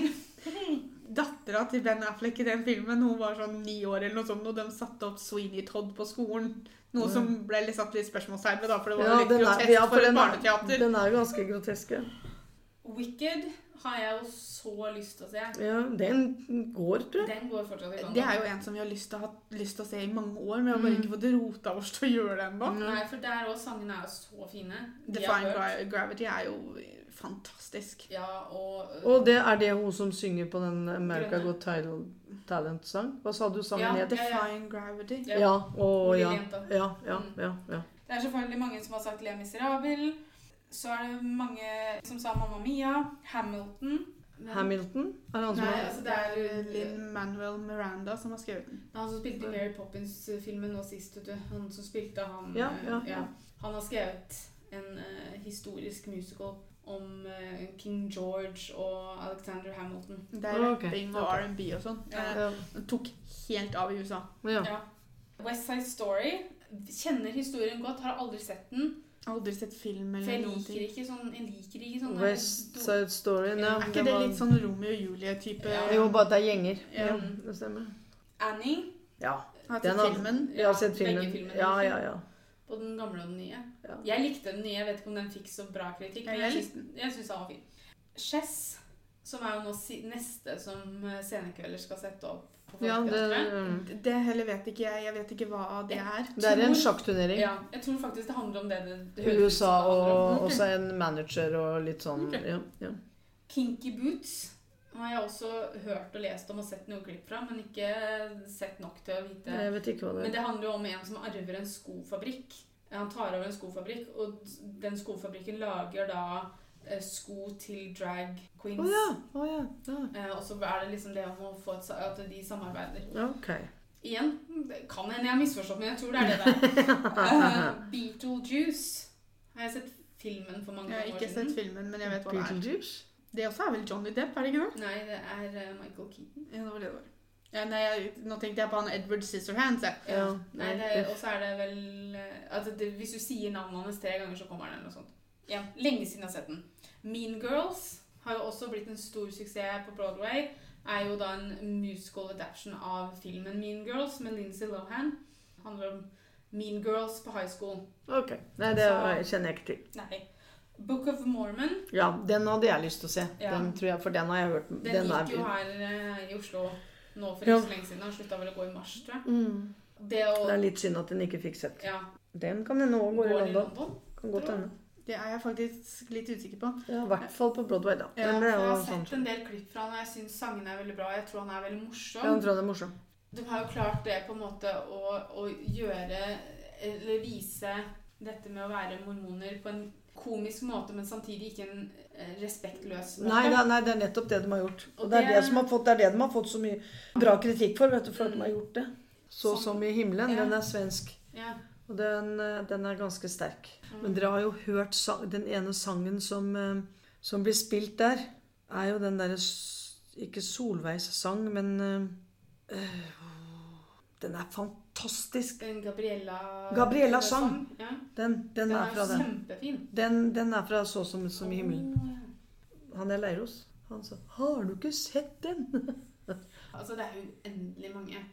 S3: Dattera til Ben Affleck i den filmen hun var sånn ni år, eller noe sånt, og de satte opp Sweeney Todd på skolen. Noe
S2: Mm.
S3: som ble litt satt litt spørsmålstegn ved, da, for det var
S2: Ja,
S3: litt
S2: den er,
S3: grotesk
S2: ja, for
S3: for et
S2: den er,
S3: barneteater.
S2: den er jo ganske grotesk. ja.
S1: Wicked har jeg jo så lyst til å se.
S2: Ja, den går, tror jeg.
S1: Den går fortsatt i gang.
S3: Det er jo en som vi har lyst til å, ha, lyst til å se i mange år, men vi har bare
S2: Mm.
S3: ikke fått rota oss til å gjøre det ennå.
S1: Nei, for der òg. Sangene er jo så fine. De har
S3: Define
S1: hørt.
S3: Gra- Gravity er jo fantastisk.
S1: Ja, og, øh,
S2: Og det er det hun som synger på den America
S1: Grønne.
S2: Got Tidal Talent-sang? Hva sa du sangen
S1: Ja,
S2: het?
S1: ja, ja.
S3: Define Gravity.
S1: ja.
S2: Ja. Og
S1: Lille
S2: ja.
S1: jenta.
S2: Ja, ja,
S1: Mm.
S2: ja, ja.
S1: Det er selvfølgelig mange som har sagt Le Miserable. Så er det mange som sa Mamma Mia. Hamilton. Men-
S2: Hamilton? Er det han som
S3: Nei,
S2: er
S3: altså det er Lin Manuel Miranda som har skrevet den.
S1: Han som spilte i Mary Poppins-filmen nå sist, vet du. Han som spilte han
S2: Ja,
S1: eh,
S2: ja, ja.
S1: Han har skrevet en eh, historisk musical om eh, King George og Alexander Hamilton.
S3: Det er
S2: Ah, ok.
S3: rapping og
S2: Ok.
S3: R&B og sånn.
S1: Ja.
S3: Eh, Den tok helt av i USA.
S2: ja.
S1: Ja. West Side Story. Kjenner historien godt, har aldri sett den.
S3: Aldri sett film
S1: For
S3: eller
S1: jeg
S3: noen
S1: liker
S3: ting.
S1: ikke sånn Jeg liker ikke sånn
S2: West Side Story. Nei,
S3: Er ikke det litt sånn Romeo og Julie-type?
S1: Ja.
S2: Jo, bare at det er gjenger.
S1: Ja.
S2: Ja, det stemmer.
S1: Annie.
S2: Ja.
S3: Har jeg
S2: Den
S3: sett
S2: har-
S3: filmen?
S2: Jeg har sett filmen.
S1: Begge filmene. liksom.
S2: Ja, ja, ja.
S1: Både den gamle og den nye.
S2: Ja.
S1: Jeg likte den nye. Jeg vet ikke om den fikk så bra kritikk.
S3: Ja,
S1: Men
S3: jeg
S1: jeg,
S3: likte
S1: syns- jeg syns den var fin. Chess, som er jo nå si neste som eh, Scenekvelder skal sette opp på
S2: ja det,
S1: Folketeatret.
S2: mm.
S3: Det heller vet ikke jeg. Jeg vet ikke hva det er.
S2: det er en
S1: Tror-
S2: sjakkturnering.
S1: Ja, jeg tror faktisk det handler om det det, det høres ut
S2: USA
S1: som det handler om.
S2: og også en manager og litt sånn
S1: Ok.
S2: ja, ja.
S1: Kinky Boots har jeg også hørt og lest om og sett noen klipp fra, men ikke sett nok til å vite
S2: Jeg vet ikke hva det
S1: Men
S2: er.
S1: det handler jo om en som arver en skofabrikk. Han tar over en skofabrikk, og den skofabrikken lager da eh, sko til drag
S2: Å
S1: queens.
S2: ja. Å ja. ja.
S1: Eh, Og så er det liksom det om å få et, sa- at de samarbeider.
S2: Ok.
S1: Igjen, det kan hende jeg har misforstått, men jeg tror det er det der. uh, Beetlejuice har jeg sett filmen for mange
S3: Jeg har
S1: år
S3: ikke sett
S1: siden.
S3: filmen, men jeg vet hva det er.
S2: Beetlejuice?
S3: Det også er vel Johnny Depp, er det ikke det?
S1: Nei, det er eh, Michael Keaton.
S3: Ja, det var det det var. Ja, nei, jeg, nå tenkte jeg på han Edward Scissorhands. Jeg.
S1: Ja.
S2: Ja,
S1: Nei,
S2: nei,
S1: det,
S2: uff.
S1: og så er det vel eh, at det, Hvis du sier navnet hans tre ganger, så kommer han eller noe sånt. Ja, lenge siden jeg har sett den. Mean Girls har jo også blitt en stor suksess på Broadway. Er jo da en musical adaption av filmen Mean Girls med Lindsay Lohan. Handler om Mean Girls på high school.
S2: Ok. Nei, det
S1: Så-
S2: kjenner jeg ikke til.
S1: Nei. Book of Mormon.
S2: Ja, den hadde jeg lyst til å se.
S1: Ja.
S2: Den tror jeg, For den har jeg hørt
S1: Den, gikk
S2: er
S1: jo her eh, i Oslo nå for
S2: Ja.
S1: ikke så lenge siden. Den slutta vel å gå i mars, tror jeg.
S2: mm.
S1: Det å
S2: Det er litt synd at den ikke fikk sett.
S1: ja,
S2: Den kan hende òg
S1: gå
S2: går i
S1: i
S2: London.
S1: London.
S2: Kan godt
S1: tror jeg.
S2: hende.
S3: Det er jeg faktisk litt usikker på.
S2: Ja, I hvert fall på Broadway, da.
S1: Ja,
S2: Men
S1: for
S2: det
S1: jeg
S2: er jo
S1: har
S2: sånn.
S1: sett en del klipp fra han, og jeg syns sangene er veldig bra. Jeg tror han er veldig
S2: Ja, den
S1: morsom.
S2: tror jeg er morsom.
S1: De har jo klart det på en måte å, å gjøre Eller vise dette med å være mormoner på en komisk måte, men samtidig ikke en eh, respektløs måte.
S2: Nei, det er, nei, det er nettopp det de har gjort. Og,
S1: Og
S2: det, er
S1: det-
S2: det, som har fått, det er det de har fått så mye bra kritikk for, vet du, for at de har gjort det. Så
S1: Sånn.
S2: som i himmelen.
S1: Ja.
S2: Den er svensk.
S1: Ja.
S2: Og den, eh, den er ganske sterk.
S1: Mm.
S2: Men dere har jo hørt sang, den ene sangen som, eh, som blir spilt der, er jo den derre s- Ikke Solveigs sang, men eh, eh, Den er fantastisk,
S1: Den Gabriella
S2: Gabriella sang.
S1: Ja.
S2: den. Den
S1: Den
S2: er
S1: er
S2: fra
S1: jo
S2: den.
S1: kjempefin.
S2: Den, den er fra Så som, som i himmelen.
S1: Å, ja.
S2: Han er Leiros. Han sa 'Har du ikke sett den?'
S1: Altså, det er jo uendelig mange.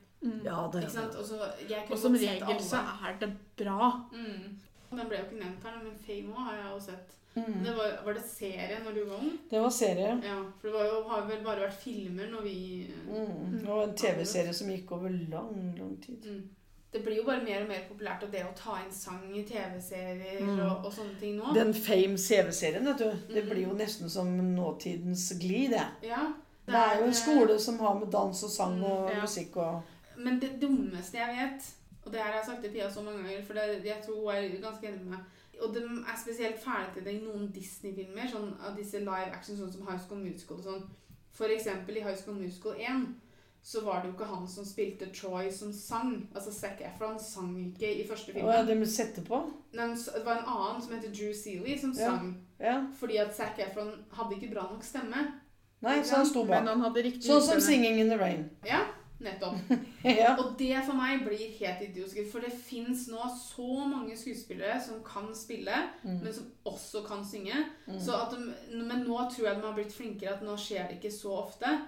S2: Ja, det
S1: Ikke sant? Og så- jeg kunne
S3: Og som
S1: godt sett
S3: regel så
S1: alle.
S3: er det bra.
S1: Mm. Den ble jo ikke nevnt her, men Fame òg har jeg jo sett. Det var, var det serie når du var ung?
S2: Mm. Det var serie.
S1: Ja, for det var jo, har vel bare vært filmer når vi
S2: Mm. Og en TV-serie som gikk over lang, lang tid.
S1: mm. Det blir jo bare mer og mer populært og det å ta inn sang i TV-serier
S2: Mm.
S1: og, og sånne ting nå.
S2: Den Fame CV-serien, vet du. Det blir jo nesten som nåtidens glid, det.
S1: ja,
S2: Det er jo en skole som har med dans og sang og
S3: Mm, ja.
S2: musikk og
S1: Men det dummeste jeg vet, og det her har jeg sagt til Pia så mange ganger, for det, jeg tror hun er ganske enig med meg og de er spesielt fæle til det i noen Disney-filmer, sånn av disse live action, sånn som High School Musical og sånn. For eksempel i High School Musical 1, så var det jo ikke han som spilte Troy som sang. Altså Zac Efron sang ikke i første
S2: Å ja,
S1: filmen.
S2: det må sette på?
S1: Nei, men så- det var en annen som heter Drew Seeley, som
S2: Ja.
S1: sang.
S2: Ja.
S1: Fordi at Zac Efron hadde ikke bra nok stemme.
S2: Nei, så han sto
S3: Men
S2: bak.
S3: han hadde riktig
S2: Sånn som
S3: utseende.
S2: 'Singing in the Rain'.
S1: Ja, nettopp.
S2: ja.
S1: Og det for meg blir helt idiotisk. For det fins nå så mange skuespillere som kan spille,
S2: Mm.
S1: men som også kan synge.
S2: Mm.
S1: Så at de, men nå tror jeg de har blitt flinkere, at nå skjer det ikke så ofte.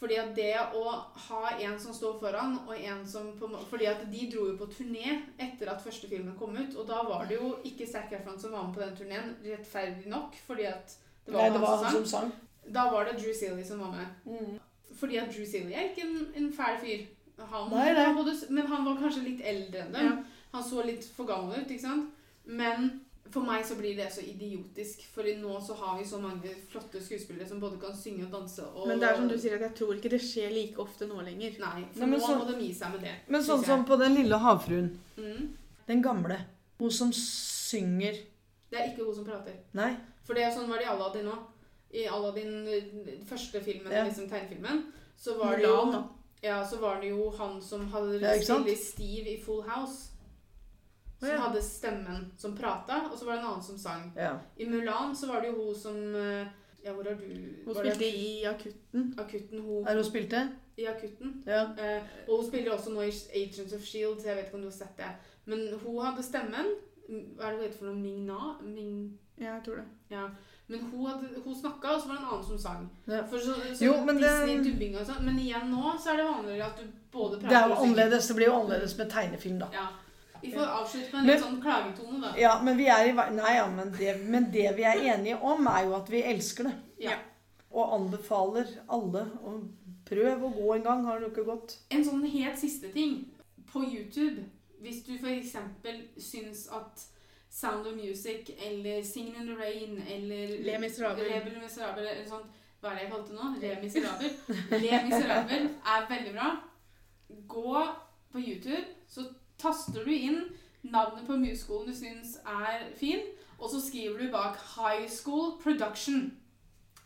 S1: Fordi at det å ha en som står foran, og en som på en må- Fordi at de dro jo på turné etter at første filmen kom ut, og da var det jo ikke Zac Efron som var med på den turneen, rettferdig nok, fordi at det var,
S2: Nei, det var
S1: han
S2: han
S1: som
S2: som sang.
S1: sang. Da var det Drew Seeley som var med.
S2: Mm.
S1: Fordi at Drew Seeley er ikke en, en fæl fyr. Han,
S2: Nei, nei.
S1: han både, men han var kanskje litt eldre enn dem.
S3: Ja.
S1: Han så litt for gammel ut, ikke sant? Men for meg så blir det så idiotisk, for nå så har vi så mange flotte skuespillere som både kan synge og danse og
S3: Men det er som du sier, at jeg tror ikke det skjer like ofte nå lenger.
S1: Nei, for
S2: Nei, men
S1: nå
S2: så-
S1: må de gi seg med det.
S2: Men sånn
S1: synes jeg.
S2: som på Den lille havfruen.
S1: mm.
S2: Den gamle. Hun som synger
S1: Det er ikke hun som prater.
S2: Nei.
S1: For det er sånn var det i Aladdin nå. I Aladdin, eh, første filmen,
S2: Ja.
S1: liksom tegnefilmen, så var det jo
S3: Mulan, da.
S1: Ja, så var det jo han som hadde
S2: Ja, ikke sant?
S1: stille Steve i Full House. Som
S2: Å, ja.
S1: hadde stemmen som prata, og så var det en annen som sang.
S2: Ja.
S1: I Mulan så var det jo hun som eh, Ja, hvor har du
S3: Hun
S1: var det
S3: spilte i Akutten.
S1: Akutten. Hun
S2: Er hun spilte?
S1: i Akutten.
S2: Ja.
S1: Eh, og hun spiller også nå i Agents of Shield, så jeg vet ikke om du har sett det. Men hun hadde stemmen. Hva er det hun heter for noe? Ming-Na? Ming...
S3: Ja, jeg tror det.
S1: Men hun, hadde- hun snakka, og så var det en annen som sang.
S2: Ja.
S1: For så, så
S2: Jo, men det-
S1: Disney-dubbing og sånn. Men igjen nå så er det vanligere at du både
S2: Det er
S1: prater
S2: jo annerledes. Det blir jo annerledes med tegnefilm, da.
S1: Ja. Vi får avslutte med en litt sånn klagetone, da.
S2: Ja, men vi er i vei... Nei, ja, men det, men det vi er enige om, er jo at vi elsker det.
S1: Ja.
S2: Og anbefaler alle å prøve å gå en gang. Har du ikke gått?
S1: En sånn helt siste ting. På YouTube, hvis du f.eks. syns at Sound of Music eller Singin' in the Rain eller
S3: Le Miserable.
S1: Le Miserable eller sånt Hva er det jeg kalte nå? Le Miserable. Le Miserable er veldig bra. Gå på YouTube, så taster du inn navnet på musikkskolen du syns er fin, og så skriver du bak High School Production.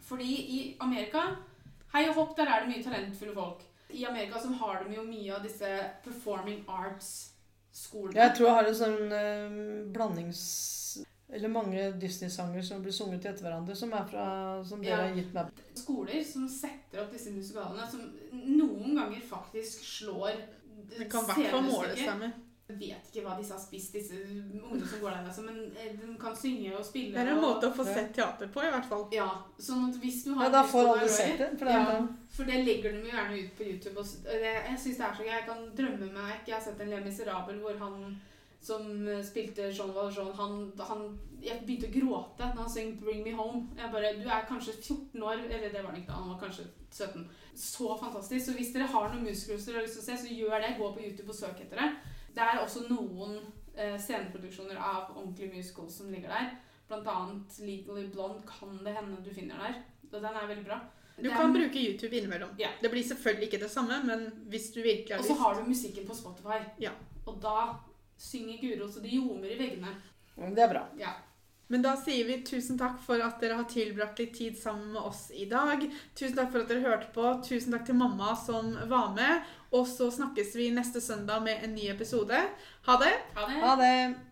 S1: Fordi i Amerika Hei og hopp, der er det mye talentfulle folk. I Amerika så har de jo mye av disse performing arts-skolene.
S2: Jeg tror jeg har en sånn eh, blandings... Eller mange Disney-sanger som blir sunget etter hverandre, som, er fra, som dere
S1: Ja.
S2: har gitt meg.
S1: skoler som setter opp disse musikalene, som noen ganger faktisk slår
S3: Det kan i hvert fall måle
S1: scenestykker.
S3: seg med.
S1: Jeg vet ikke hva disse har spist, disse ungene som går der, altså, men eh, de kan synge og spille.
S3: Det er en
S1: og-
S3: måte å få sett teater på, i hvert fall.
S1: Ja, sånn at hvis du har
S2: Ja, da
S1: lyst til
S2: får
S1: å
S2: alle
S1: være Roy,
S2: sett det. For det er
S1: Ja.
S2: da-
S1: For det legger de jo gjerne ut på YouTube. Og s- og det, jeg synes det er så gøy. Jeg kan drømme meg vekk. Jeg har sett en Le Miserable hvor han som eh, spilte Jean Valjean, han, han Jeg begynte å gråte når han sang 'Bring Me Home'. Jeg bare Du er kanskje 14 år. Eller det var han ikke da. Han var kanskje 17. Så fantastisk. Så hvis dere har noen musicals dere har lyst til å se, så gjør det. Gå på YouTube og søk etter det. Det er også noen eh, sceneproduksjoner av ordentlige musicals som ligger der. Blant annet Legally Blonde kan det hende du finner der. Og den er veldig bra.
S3: Du
S1: Det er
S3: kan bruke YouTube innimellom.
S1: Ja.
S3: Det blir selvfølgelig ikke det samme, men hvis du virkelig har
S1: Og så
S3: lyst
S1: har du musikken på Spotify.
S3: Ja.
S1: Og da synger Guro så det ljomer i veggene.
S2: Mm, Det er bra.
S1: Ja.
S3: Men da sier vi tusen takk for at dere har tilbrakt litt tid sammen med oss i dag. Tusen takk for at dere hørte på. Tusen takk til mamma som var med. Og så snakkes vi neste søndag med en ny episode. Ha det!
S1: Ha det.
S2: Ha det.